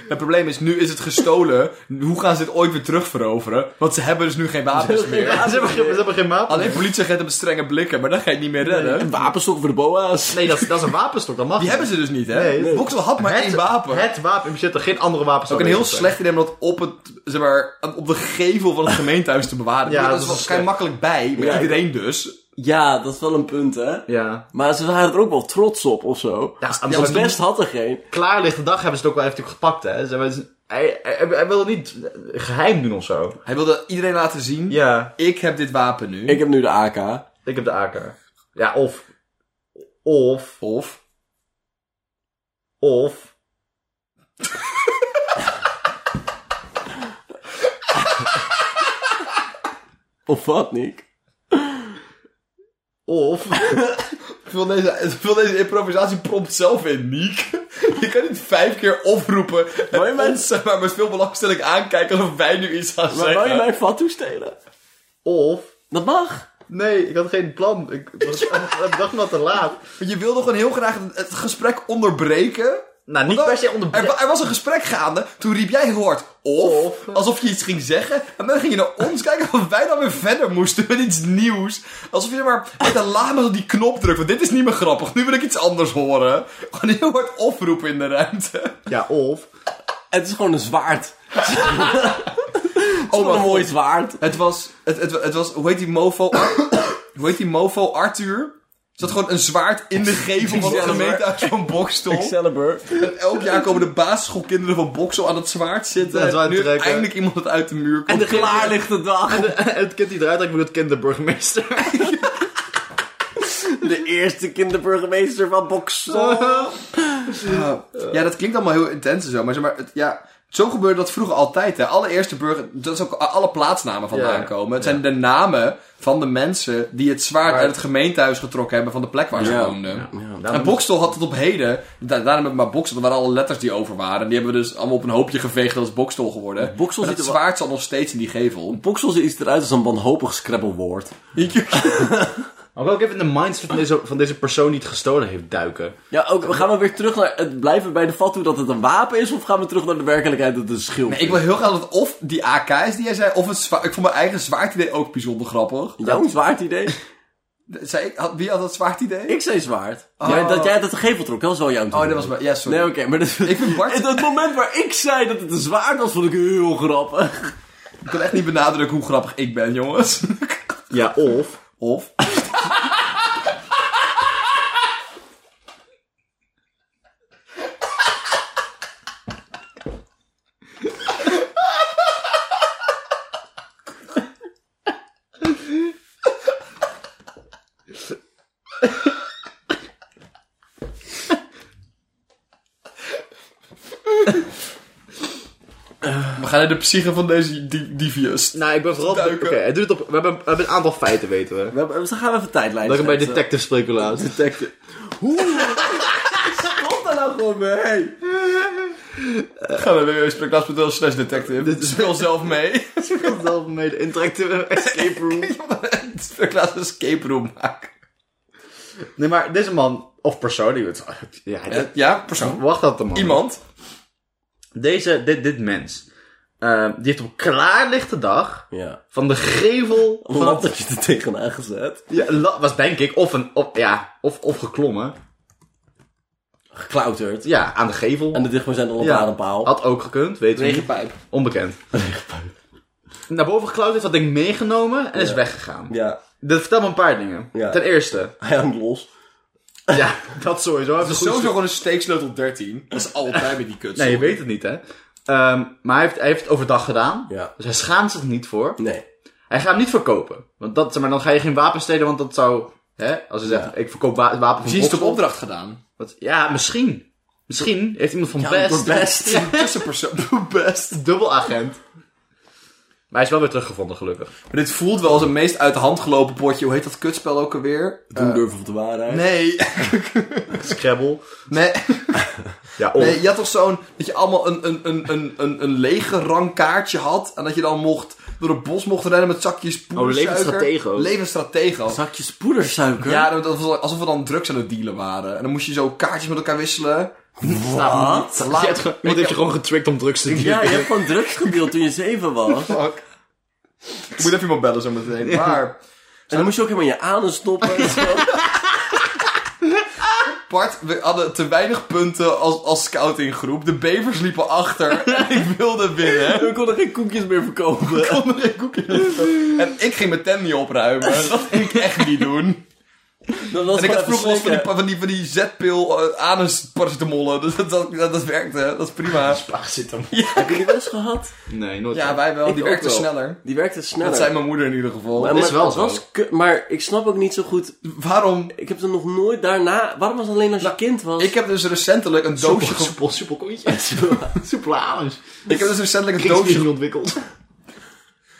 Het probleem is, nu is het gestolen. Hoe gaan ze dit ooit weer terugveroveren? Want ze hebben dus nu geen wapens meer.
Ah, ze, hebben geen, ze hebben geen wapen.
Alleen politieagenten met strenge blikken, maar dan ga je het niet meer redden.
Een wapenstok voor de boa's.
Nee, dat, is- dat is een wapenstok, dat mag
Die
niet.
hebben ze dus niet, hè?
Nee.
Boksel had maar één wapen.
Het wapen in bezit, er geen andere wapens
ook een heel slecht idee om dat op, het, zeg maar, op de gevel van het gemeentehuis te bewaren.
Ja,
dat,
dat
is
is
wel vrij
slecht.
makkelijk bij, maar
Ja.
iedereen dus.
Ja, dat is wel een punt, hè.
Ja.
Maar ze waren er ook wel trots op, of zo.
Ja,
Ja,
maar
maar
toen-
best had er geen.
klaarlichte dag hebben ze het ook wel even natuurlijk gepakt, hè. Ze hebben, hij, hij, hij wil het niet geheim doen of zo.
Hij wilde iedereen laten zien,
Ja,
ik heb dit wapen nu.
Ik heb nu de AK.
ik heb de AK. Ja, of... Of...
Of,
Of...
Of wat, Nick?
Of...
vul deze, vul deze improvisatie prompt zelf in, Niek. Je kan niet vijf keer oproepen
Wou je
en
mijn-
ons zeg maar, met veel belangstelling aankijken alsof wij nu iets gaan
Maar wou je
zeggen.
mij vat toestelen?
Of...
Dat mag.
Nee, ik had geen plan. Ik, was, ik dacht me te laat.
Want Je wilde gewoon heel graag het- het gesprek onderbreken.
Nou, niet
Want
per
dan-
se
Er,
onderbreken.
wa- er was een gesprek gaande, toen riep jij heel hard of,
Of.
alsof je iets ging zeggen. En dan ging je naar ons kijken of wij dan weer verder moesten met iets nieuws. Alsof je zeg maar met een lama op die knop drukt, want dit is niet meer grappig, nu wil ik iets anders horen. Gewoon heel hard of roepen in de ruimte.
Ja, of...
Het is gewoon een zwaard.
Oh
Wat een
mijn
mooi
god.
zwaard.
Het was, het, het, het was, hoe heet die mofo, hoe heet die mofo Arthur? Er zat gewoon een zwaard in de gevel van de
Excelsior.
gemeentehuis van Bokstel.
Excalibur.
En elk jaar komen de basisschoolkinderen van Boksel aan het zwaard zitten.
Ja, het
En
zwaard
nu
trekken.
eindelijk iemand het uit de muur komt.
En de klaar ligt de dag.
En het kind die eruit lijkt me het kind de burgemeester.
De eerste kinderburgemeester van Boksel.
Ja, dat klinkt allemaal heel intens en zo, maar zeg maar, het, ja, Zo gebeurde dat vroeger altijd. Hè. Alle eerste burger, dat is ook alle plaatsnamen vandaan
Ja.
komen. Het zijn de namen van de mensen die het zwaard
Right.
uit het gemeentehuis getrokken hebben van de plek waar ze
Ja.
woonden. En
Daarom-
Bokstel had het op heden. Da daarom heb ik maar Bokstel. Dat waren alle letters die over waren. Die hebben we dus allemaal op een hoopje geveegd. Dat is Bokstel geworden.
Bokstel
Maar het
ziet er wel-
zwaard zat nog steeds in die gevel.
Boksel ziet eruit als een wanhopig scrabblewoord.
Maar ook even in de mindset van deze, van deze persoon die het gestolen heeft duiken.
Ja, ook, we gaan we weer terug naar het blijven bij de fatsoen dat het een wapen is, of gaan we terug naar de werkelijkheid dat het een schild
Nee,
is?
ik wil heel graag dat of die AK is die jij zei. Of het zwaard. Ik vond mijn eigen zwaardidee ook bijzonder grappig.
Jouw zwaardidee?
Zei ik, had, wie had dat zwaardidee?
ik zei zwaard. Jij- dat jij dat de gevel trok, dat was wel jouw
Oh, dat was mijn. Ja, sorry.
Nee, oké, maar dat...
Ik vind Bart-
Het, het moment waar ik zei dat het een zwaard was, vond ik heel grappig.
Ik kan echt niet benadrukken hoe grappig ik ben, jongens.
Ja, of...
Of. We gaan naar de psyche van deze di- devious.
Nou, ik ben vooral... Oké,
Duiken.
hij doet het op... We hebben, we hebben een aantal feiten, weten we.
We hebben- we gaan even tijdlijn
Dat ik hem bij
schetsen.
detective spreken laat.
Detective. Hoe? Stop daar nou gewoon mee. Hey.
Ga naar www.spreeklaas.nl slash detective. Speel zelf mee.
Dat wel mee de interactieve escape room.
Spreeklaas een escape room maken.
Nee, maar deze man, of persoon, die het... Ja, dit-
Ja, persoon.
wacht dat de man.
Iemand.
Deze, dit, dit mens. eh, die heeft op klaarlichte dag
Ja.
van de gevel
Een
van...
lattertje er tegenaan gezet.
Ja, la- was denk ik, of een... Of, ja, of, of geklommen.
Geklauterd.
Ja, aan de gevel.
En de dichtstbijzijnde onder
ja,
een paal.
Oh.
had ook gekund, weet we niet.
Regenpijp.
Onbekend. Naar boven geklauterd, heeft dat ding meegenomen en is weggegaan.
Ja.
Dat vertelt me een paar dingen.
Ja.
Ten eerste,
Hij hangt los.
ja, dat sowieso. Even
Dat is
goed
sowieso gewoon een steeksleutel 13. Dat is altijd bij die kut.
Nee, je weet het niet, hè. Ehm, maar hij heeft, hij heeft het overdag gedaan.
Ja.
Dus hij schaamt zich niet voor.
Nee.
Hij gaat hem niet verkopen. Want dat, zeg maar, dan ga je geen wapens stelen, want dat zou... Hè, als hij zegt, ik verkoop wa wapen van
Precies het op
Boksel.
opdracht gedaan.
Wat- Ja, misschien. Misschien heeft iemand van Best...
door Best.
Ja,
Tussenpersoon. Best.
dubbelagent. Maar hij is wel weer teruggevonden, gelukkig.
Maar dit voelt wel als een meest uit de hand gelopen potje. Hoe heet dat kutspel ook alweer?
Doen durven van de waarheid.
Nee.
Scrabble.
Nee.
Ja, oh, of.
Nee, je had toch zo'n... Dat je allemaal een, een, een, een, een, een lege rangkaartje had. En dat je dan mocht... Door het bos mocht rennen met zakjes poedersuiker.
levensstratego.
Levensstratego.
Zakje spoedersuiker.
Ja, dat was alsof we dan drugs aan het dealen waren. En dan moest je zo kaartjes met elkaar wisselen.
Wat?
Je hebt, gewoon- iemand heeft je gewoon getrickt om drugs te doen.
Ja, je hebt gewoon drugs gedeeld toen je zeven was.
Fuck. Ik moet even iemand bellen zo meteen. Maar
En dan moest je ook helemaal in je anus stoppen. en zo.
Bart, we hadden te weinig punten als, als scoutinggroep. De bevers liepen achter en ik wilde winnen.
We konden geen koekjes meer verkopen.
En ik ging mijn tent niet opruimen. Dat ging ik echt niet doen.
Dat was
En ik had
gewoon even
vroeger wel eens van die,
slikken.
pa- van die, van die zetpil eh, anusparacetamolen. Dus dat, dat, dat, dat werkte. Dat is prima.
Spaar zit hem.
Heb je die wel eens gehad?
Nee, nooit.
Ja, wij wel.
Ik
die
ook
werkte
wel.
sneller.
Die werkte sneller.
Dat zei mijn moeder in ieder geval.
maar,
Dat is
maar
wel
het
zo.
was kut, maar ik snap ook niet zo goed.
Waarom?
Ik heb het nog nooit daarna. Waarom was het alleen als je kind was?
Ik heb dus recentelijk een
Soepel,
doosje gevonden.
soepel, soepel kontje. Soepel anus.
Ik heb dus recentelijk een doosje
Doosje niet ontwikkeld.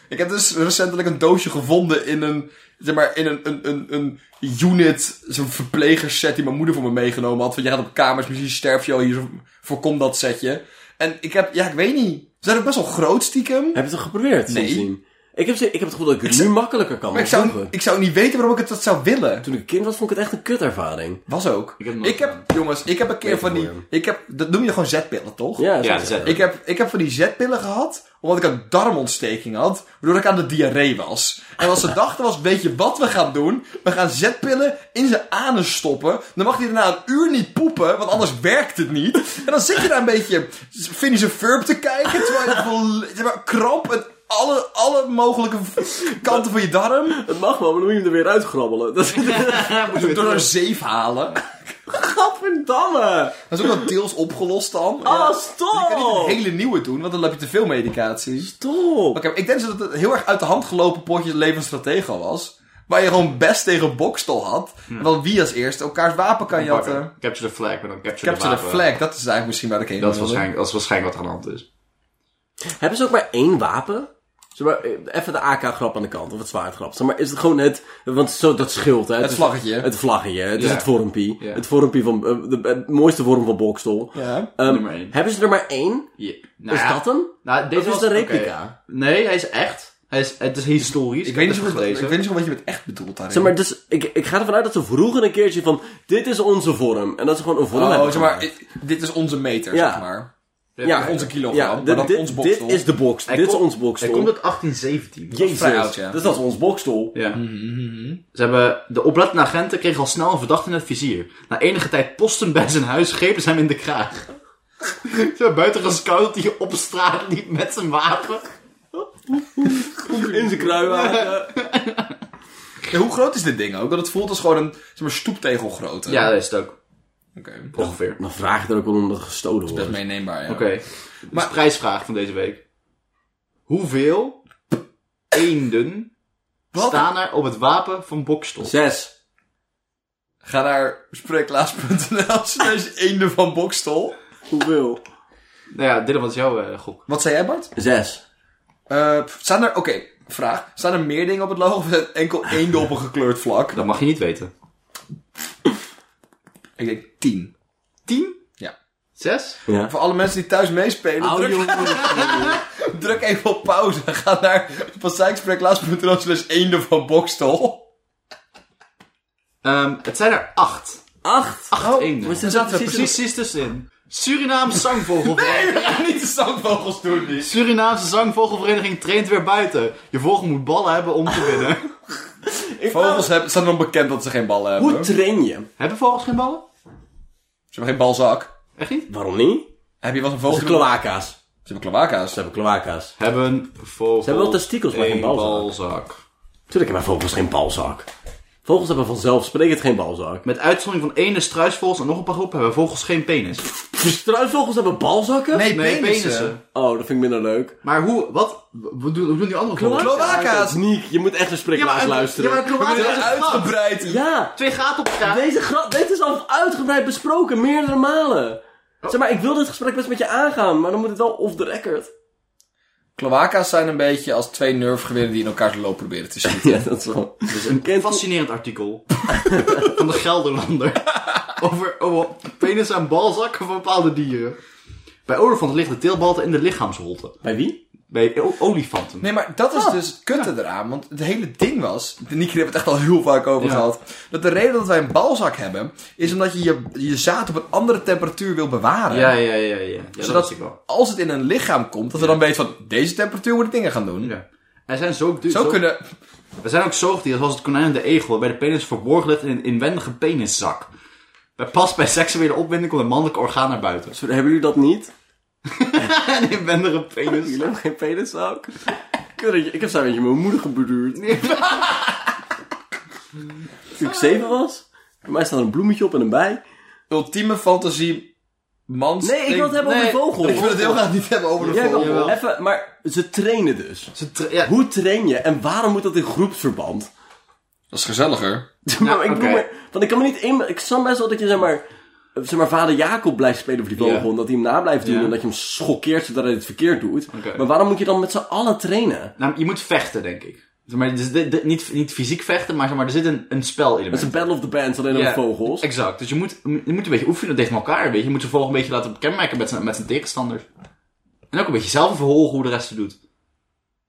Ik heb dus recentelijk een doosje gevonden in een, zeg maar, in een, een, een, een unit, zo'n verplegerset die mijn moeder voor me meegenomen had. Van, je gaat op kamers, misschien sterf je al hier, zo- voorkom dat setje. En ik heb, ja, ik weet niet. Ze zijn ook best wel groot stiekem.
Heb je het al geprobeerd?
Nee.
sindsdien? Ik heb, ze- ik heb het gevoel dat ik het nu makkelijker kan.
Maar ik
dan
zou,
vroeger.
ik zou niet weten waarom ik het dat zou willen.
Toen ik een kind was, vond ik het echt een kutervaring.
Was ook. Ik
heb
heb,
het nooit
jongens, ik heb een keer
Weet
van
ik
die,
wel, ja.
ik heb, dat noem je gewoon zetpillen, toch?
Ja,
Ja,
zo-
zet.
Ik heb, ik heb van die zetpillen gehad, omdat ik een darmontsteking had, waardoor ik aan de diarree was. En wat ze dachten was, weet je wat we gaan doen? We gaan zetpillen in zijn anus stoppen, dan mag hij daarna een uur niet poepen, want anders werkt het niet. En dan zit je daar een beetje Finnische Furp te kijken, terwijl je vol- zeg maar, kramp en alle, alle mogelijke kanten van je darm
Het mag wel, maar dan moet je hem er weer uitgrabbelen. Dat is
door een zeef halen.
Gadverdamme!
Dat is ook wel deels opgelost dan.
Ah,
Je kan niet
stop!
een hele nieuwe doen, want dan heb je te veel medicatie.
Stop!
Oké, maar ik denk dus dat het een heel erg uit de hand gelopen potje levensstratego was. Waar je gewoon best tegen Bokstel had.
Hmm.
Want wie als eerste elkaars wapen kan jatten.
Capture the flag, maar dan capture,
Capture
the
the
wapen.
flag, dat is eigenlijk misschien waar ik heen
Dat is,
wilde.
waarschijnlijk, dat is waarschijnlijk wat er aan de hand is.
Hebben ze ook maar één wapen? Zeg maar, eh, even de AK-grap aan de kant, of het zwaardgrap. Zeg maar, is het gewoon het... Want zo, dat scheelt, hè?
Het
is-
vlaggetje.
Het vlaggetje, het is
Ja.
het vormpie.
Ja.
Het vormpie van... eh, de, het mooiste vorm van Bokstol.
Ja.
Ehm,
Nummer één.
Hebben ze er maar één?
Ja. Nou
is
ja,
dat hem?
Nou, deze
Of is
was
het een
oké.
replica?
Nee, hij is echt. Hij is, het is historisch.
Ik weet niet
heb
zo
het
goed, ik
gelezen.
weet niet zo goed wat je met echt bedoelt daarin.
Zeg maar, dus ik, ik ga ervan uit dat ze vroeger een keertje van... Dit is onze vorm. En dat ze gewoon een vorm
Oh,
hebben
zeg maar,
gemaakt.
i- dit is onze meter,
Ja.
zeg maar.
Ja,
Onze kilogram,
ja,
maar
dit,
dan
dit-
ons
dit
boksel.
is de box.
Hij
dit is
komt-
ons boxstol.
Hij komt uit 1817.
Jezus,
vrij oud, ja.
dus dat is ons bokstel.
Ja.
Mhm.
Ze hebben, de oplettende agenten kregen al snel een verdachte in het vizier. Na enige tijd posten bij zijn huis grepen ze hem in de kraag. Ze hebben buiten gescout dat hij op straat liep met zijn wapen.
In zijn kruiwagen.
Ja, hoe groot is dit ding ook? Dat het voelt als gewoon een zeg maar, stoeptegelgrootte.
Ja, dat is het ook.
Oké.
Ongeveer.
Dan vraag je er ook wel om dat het gestolen
Best
wordt.
meeneembaar, ja.
Oké. Maar prijsvraag van deze week. Hoeveel eenden
Wat?
staan er op het wapen van Bokstel?
Zes.
Ga naar spreeklaas.nl slash eenden van Bokstol.
Hoeveel?
Nou ja, Dylan, wat is jouw eh, gok?
Wat zei jij, Bart?
Zes.
Eh, pff, staan er... Oké, vraag. Staan er meer dingen op het logo of enkel eenden op een gekleurd vlak?
Dat mag je niet weten.
Ik denk tien.
Tien?
Ja.
Zes?
Ja.
Voor alle mensen die thuis meespelen, druk, druk even op pauze. Ga naar passijkspreeklaas.nl slash eenden van Bokstol.
Ehm, het zijn er acht.
Acht.
Acht eenden.
maar ze zaten
Ze zaten
er
er precies, tussenin. Surinaamse zangvogel.
Nee, we gaan niet de zandvogels doen, dus.
Surinaamse zangvogelvereniging traint weer buiten. Je vogel moet ballen hebben om te winnen.
Vogels hebben, staan erom bekend dat ze geen ballen hebben.
Hoe train je?
hebben vogels geen ballen?
Ze hebben geen balzak.
Echt niet?
Waarom niet?
Heb je wel eens een
Dat
vogel?
is kloaka's. Ze
Ze hebben cloaca's.
hebben kloaka's.
Hebben vogels.
hebben wel testikels, maar geen
een
balzak.
balzak.
Tuurlijk hebben vogels geen balzak. Vogels hebben vanzelfsprekend geen balzak.
Met uitzondering van ene struisvogels en nog een paar groepen hebben vogels geen penis.
Dus struisvogels hebben balzakken?
Nee, penissen.
Oh, dat vind ik minder leuk.
Maar hoe, wat, hoe doen, hoe doen die andere vogels?
Cloaca's.
Sneak, je moet echt een spreeklaas luisteren.
Ja, maar kloaken
Ze
is
zijn
een gat.
uitgebreid.
Ja,
Twee gaten op elkaar.
deze grap, dit is al uitgebreid besproken, meerdere malen.
Oh.
Zeg maar, ik wil dit gesprek best met je aangaan, maar dan moet het wel off the record.
Cloaca's zijn een beetje als twee nerfgeweren die in elkaars loop proberen te schieten.
Ja, dat is wel...
Een
Kent-
fascinerend artikel van de Gelderlander over, over penis en balzakken van bepaalde dieren. Bij olifanten ligt de teelbalte in de lichaamsholte.
Bij wie?
Bij o- olifanten.
Nee, maar dat is dus het kutte eraan. Want het hele ding was... Nicky heeft het echt al heel vaak over
Ja.
gehad. Dat de reden dat wij een balzak hebben... is omdat je je, je zaad op een andere temperatuur wil bewaren.
Ja, ja, ja, ja. ja. dat
Zodat
wist ik wel.
als het in een lichaam komt... dat we dan weten van... deze temperatuur moet ik dingen gaan doen.
Ja. Er zijn, zo,
Zo kunnen...
er zijn ook zoogdieren zoals het konijn en de egel waarbij de penis verborgen ligt in een inwendige peniszak. Bij pas bij seksuele opwinding komt het mannelijke orgaan naar buiten.
Sorry, hebben jullie dat niet?
Een inwendige penis.
Jullie hebben geen peniszaak? Kuddertje, ik heb zo'n beetje mijn moeder gebeduurd. Toen ik zeven was, bij mij staat er een bloemetje op en een bij.
Ultieme fantasie... Mans...
Nee, ik wil het hebben
nee,
over een vogel.
Ik wil het heel graag niet hebben over de
Jij
vogel.
wel. Even, maar ze trainen dus.
Ze tra- ja,
Hoe train je en waarom moet dat in groepsverband?
Dat is gezelliger.
maar ik bedoel,
oké.
maar- want ik kan me niet eenmaal... Ik snap best wel dat je, zeg maar... eh, Zeg maar, vader Jacob blijft spelen voor die vogel.
Ja.
En dat hij hem na blijft doen.
Ja.
En dat je hem schokkeert zodat hij het verkeerd doet.
Oké.
Maar waarom moet je dan met z'n allen trainen?
nou, je moet vechten, denk ik. Zeg Maar, dus dit- dit- niet, niet fysiek vechten, maar, zeg maar er zit een, een spel in.
Dat is een battle of the bands, alleen dan
Ja,
met vogels.
Exact. Dus je moet, je moet een beetje oefenen tegen elkaar. Weet je. je moet de vogel een beetje laten kenmerken met zijn, met zijn tegenstanders. En ook een beetje zelf verhogen hoe de rest het doet.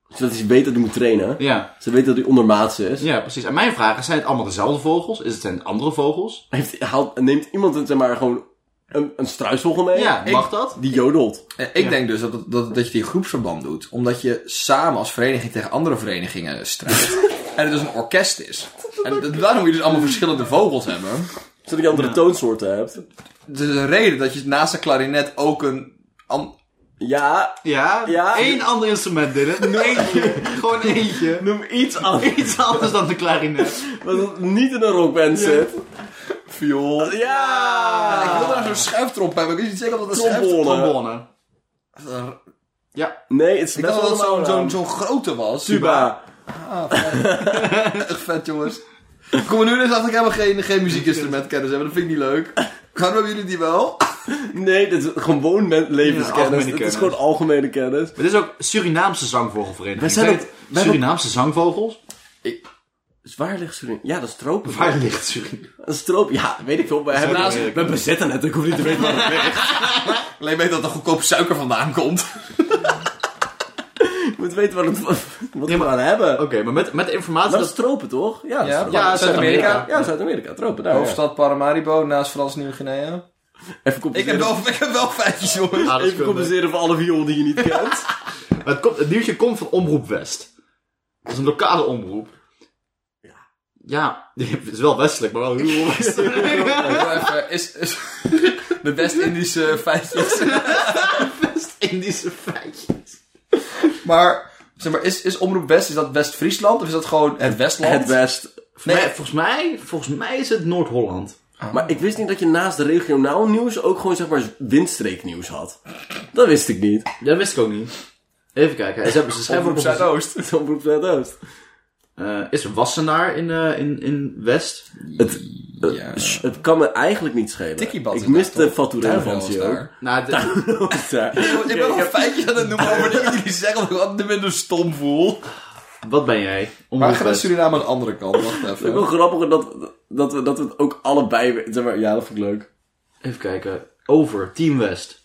Zodat hij weet Dus dat hij moet trainen.
Ja.
Ze weten dat hij ondermaats is.
ja, precies. En mijn vraag is, zijn het allemaal dezelfde vogels? Is het zijn het andere vogels?
Heeft, haalt, neemt iemand het, zeg maar, gewoon een, een struisvogel mee?
Ja,
ik-
mag dat?
Die jodelt.
Eh, Ik
Ja.
denk dus dat, dat, dat je die groepsverband doet. Omdat je samen als vereniging tegen andere verenigingen strijdt. en het dus een orkest is. En d- daarom moet je dus allemaal verschillende vogels hebben.
Zodat je andere toonsoorten hebt.
Het is een reden dat je naast de klarinet ook een... an-
Ja,
Ja.
Ja.
Eén ander instrument, Dylan. Eentje. Gewoon eentje.
noem iets anders.
Iets anders dan de klarinet.
Wat niet in een rockband zit.
viool.
Ja!
Ik wil daar zo'n schuiftromp hebben. Ik weet niet zeker of dat een schuiftromp...
Trombone.
Trombone.
Nee, het is
Ik
best
dacht dat
wel
dat zo'n zo'n
zo'n
zo'n grote was.
tuba.
Echt vet, jongens. Ik kom er nu dus achter dat ik helemaal geen, geen muziekinstrumentkennis heb. Dat vind ik niet leuk. Waarom hebben jullie die wel?
Nee, dit is gewoon men- levenskennis.
algemene
Het is
kennis.
gewoon algemene kennis.
Maar dit is ook Surinaamse zangvogelvereniging.
We zijn
Zijn
op-
het
we hebben-
Surinaamse zangvogels?
Dus waar ligt Suriname? Ja, dat is tropen.
Waar ligt Suriname?
Een stroop, ja, weet ik veel. We, hebben
ook
naast,
wel
we bezetten het, ik hoef niet te weten waar het
Alleen weet dat er goedkoop suiker vandaan komt.
Je moet weten wat, het, wat we aan hebben.
Oké, maar met, met de informatie
Ah, Dat
dat...
is tropen, toch? Ja, dat is-
Ja, Zuid-Amerika.
Ja, Zuid-Amerika, tropen. Daar, ja.
Hoofdstad Paramaribo, naast Frans Nieuw-Guinea.
Even
Ik heb
compenseren,
wel, ik heb wel feitjes, jongens.
Ah, dat is
even
kunde.
compenseren voor alle viool die je niet kent.
Maar het, komt, het nieuwtje komt van Omroep West. Dat is een lokale omroep. Ja. Ja, het is wel westelijk, maar wel heel westelijk.
Ah, Even, is, is- de West-Indische feitjes.
Indische feitje.
Maar, zeg maar is, is Omroep West, is dat West-Friesland? Of is dat gewoon het Westland?
Het best.
Nee, volgens mij, volgens mij is het Noord-Holland.
Maar ik wist niet dat je naast de regionaal nieuws ook gewoon zeg maar windstreeknieuws had. Dat wist ik niet.
Ja, dat wist ik ook niet. Even kijken. Ze, hebben, ze schrijven
Omroep
ook nog-
Zuidoost.
Zo'n beroep Zuidoost.
Eh, is er Wassenaar in, eh, in, in West?
Het, eh,
Ja.
sh- het kan me eigenlijk niet schelen.
Tikkiebad is
ik mis
daar,
de
toch?
faturatie ook.
Nou, de-
Daar.
Ik ben al feitjes aan het noemen over dingen die jullie zeggen, omdat ik altijd minder stom voel.
wat ben jij?
Maar
Omroep
gaat
West.
Suriname aan de andere kant? Wacht
Het is wel
even.
grappiger dat, dat, we, dat we het ook allebei... we- Zeg maar, ja, dat vind ik leuk.
Even kijken. Over, Team West.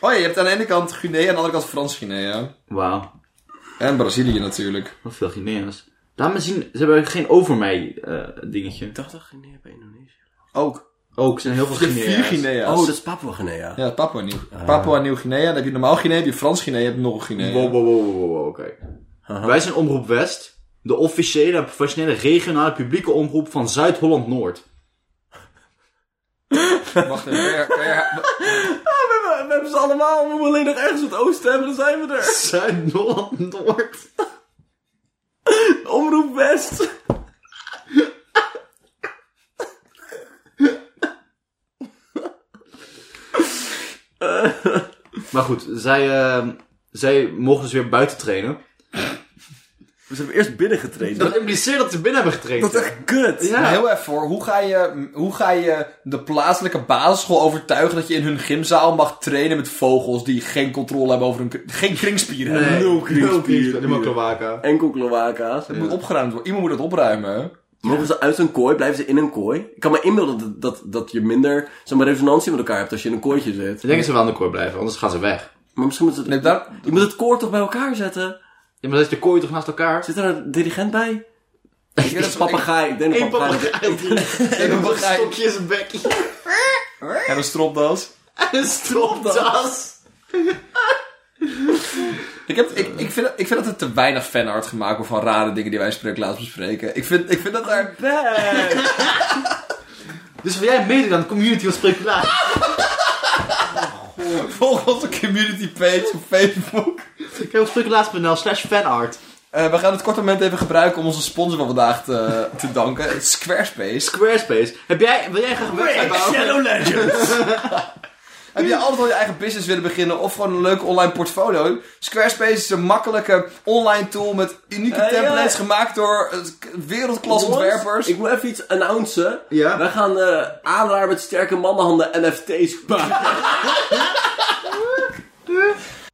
Oh ja, je hebt aan de ene kant Guinea, aan de andere kant Frans-Guinea.
Wauw,
En Brazilië natuurlijk.
wat veel Guinea's. Laat me zien, ze hebben geen over mij eh, dingetje.
Ik dacht dat Guinea bij Indonesië.
Ook.
Ook, er zijn heel veel
Je hebt vier
Guinea's.
Guinea's.
Oh, dat is Papua Guinea.
Ja, Papua Nieuw. Papua Nieuw-Guinea, dan heb je normaal Guinea, heb je Frans Guinea, heb je nog een Guinea.
Wow, wow, wow, wow, wow, wow, oké. Uh-huh. Wij zijn Omroep West, de officiële en professionele regionale publieke omroep van Zuid-Holland-Noord.
Wacht even, kan je- kan je-
We, we hebben ze allemaal. We moeten alleen nog ergens het oosten hebben. Dan zijn we er.
Zuid-Holland-Noord?
Omroep West.
Maar goed, zij, eh, zij mogen dus weer buiten trainen.
We zijn eerst binnengetreden.
Dat impliceert dat ze binnen hebben getraind.
Dat is echt kut.
Ja.
Heel even hoor, hoe ga, je, hoe ga je de plaatselijke basisschool overtuigen dat je in hun gymzaal mag trainen met vogels die geen controle hebben over hun... kri- Geen kringspieren hebben.
Nee,
Nul kriekspier.
nul kriekspier, Nul kloaka.
Enkel kloaka's.
Het moet opgeruimd worden. Iemand moet het opruimen.
Mogen ze uit hun kooi? Blijven ze in een kooi? Ik kan me inbeelden dat, dat, dat je minder zeg maar, resonantie met elkaar hebt als je in een kooitje zit.
Ik denk dat ze wel aan de kooi blijven, anders gaan ze weg.
Maar misschien moeten ze...
Nee, daar,
Je moet het koor toch bij elkaar zetten?
Ja, maar dat is de kooi toch naast elkaar?
Zit er een dirigent bij?
ik denk dat
Een
ze-
papegaai. Ik denk een
Eén
papegaai.
papegaai
ik- ik-
een
begrijp-
stokje in zijn bekje.
En een stropdas.
En een stropdas.
Ik, heb, ik, ik, vind, dat- ik vind dat er te weinig fanart gemaakt wordt van rare dingen die wij in Spreeklaas bespreken. Ik vind, ik vind dat daar...
Bang.
Dus wil jij meedoen aan de community van Spreeklaar?
Volg onze community page op Facebook.
Kijk op spreeklaas.nl slash fanart.
Eh, we gaan het korte moment even gebruiken om onze sponsor van vandaag te, te danken. Het Squarespace.
Squarespace. Heb jij, wil jij graag een website bouwen?
Shadow Legends.
Heb je altijd al je eigen business willen beginnen of gewoon een leuke online portfolio? Squarespace is een makkelijke online tool met unieke
Eh, ja.
templates gemaakt door eh, wereldklas
Jongens,
ontwerpers.
Ik moet even iets announcen.
Ja.
Wij gaan eh aanraar met sterke mannenhanden NFT's maken.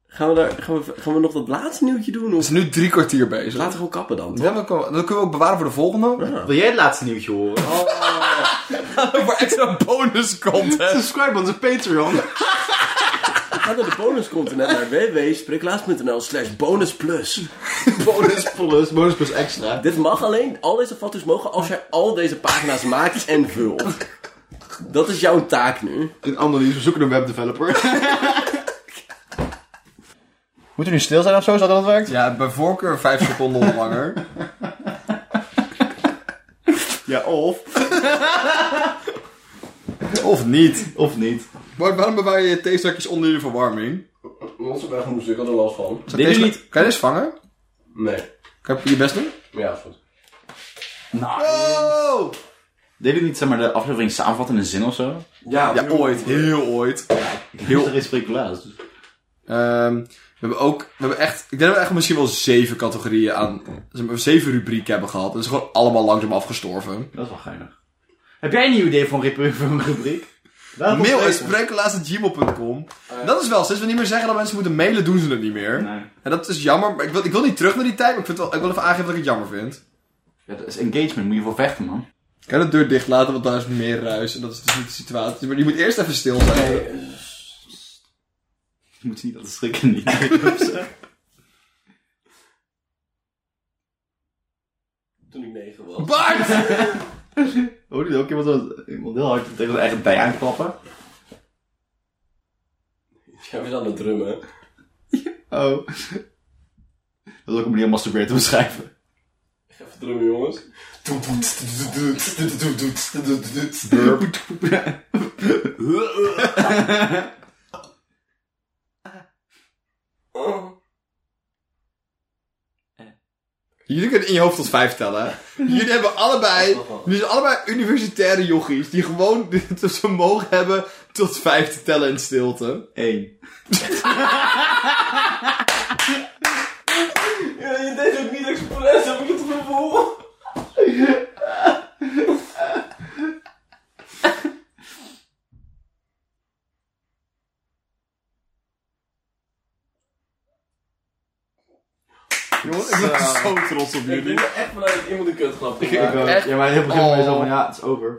gaan, we daar, gaan, we, gaan we nog dat laatste nieuwtje doen? Of?
dus
We zijn nu drie kwartier bezig.
Laten we gewoon kappen dan. toch?
Ja, dat kunnen we- dat kunnen we ook bewaren voor de volgende.
Wil jij het laatste nieuwtje horen?
voor extra bonus content.
Subscribe onze Patreon.
Ga naar de bonuscontent naar www.spriklaas.nl slash bonusplus.
bonus plus, bonus plus extra.
Dit mag alleen, al deze foto's mogen als jij al deze pagina's maakt en vult. Dat is jouw taak nu.
In ander nieuws, we zoeken een webdeveloper. Moeten we nu stil zijn of zo, is dat hoe dat werkt?
Ja, bij voorkeur vijf seconden of langer.
Ja, of.
Of niet.
Of niet.
Maar waarom bewaar je je theezakjes onder je verwarming?
Onze bergmoes, ik had er last van.
Zou theezak- Kan je deze vangen?
Nee.
Kan je je best doen?
Ja, is goed.
Oh!
Deed je niet zeg maar, de aflevering samenvatten in een zin of zo?
Ja,
Ja, ooit. Heel ooit. Heel...
Er is Spreeklaas.
Ehm, we hebben ook... We hebben echt... Ik denk dat we echt misschien wel zeven categorieën aan... zeg maar, Zeven rubrieken hebben gehad. Dat is gewoon allemaal langzaam afgestorven.
Dat is wel geinig. Heb jij een nieuw idee voor een rep- voor een rubriek?
Daarom
Mail
komt
is
het.
sprenkelaars.gmail.com. Dat is wel, sinds we niet meer zeggen dat mensen moeten mailen, doen ze het niet meer.
Nee.
En dat is jammer. maar Ik wil, ik wil niet terug naar die tijd, maar ik, vind het wel, ik wil even aangeven dat ik het jammer vind.
Ja, dat is engagement, moet je voor vechten, man.
Kan je de deur dicht laten, want daar is meer ruis. En dat is dus niet de situatie. Maar je moet eerst even stil zijn.
Je moet ze niet laten schrikken, niet.
Toen ik negen was.
Bart!
Hoor je ook iemand, wat- iemand heel hard tegen zijn eigen bij aanklappen?
Jij was aan het drummen.
Oh. Dat is ook een manier om masturberen te beschrijven.
Even drummen, jongens.
Jullie kunnen in je hoofd tot vijf tellen. hè? Jullie hebben allebei, jullie zijn allebei universitaire jochies die gewoon het vermogen hebben tot vijf te tellen in stilte.
Eén.
Ja, je deed ook niet expres, heb ik het gevoel.
Jongen, ik ben zo trots op
Ik
jullie.
ben echt vanuit dat iemand een kutgrap
Ik,
gemaakt.
eh,
echt?
Ja, maar heel begin bij
Oh.
zo van, ja, het is over.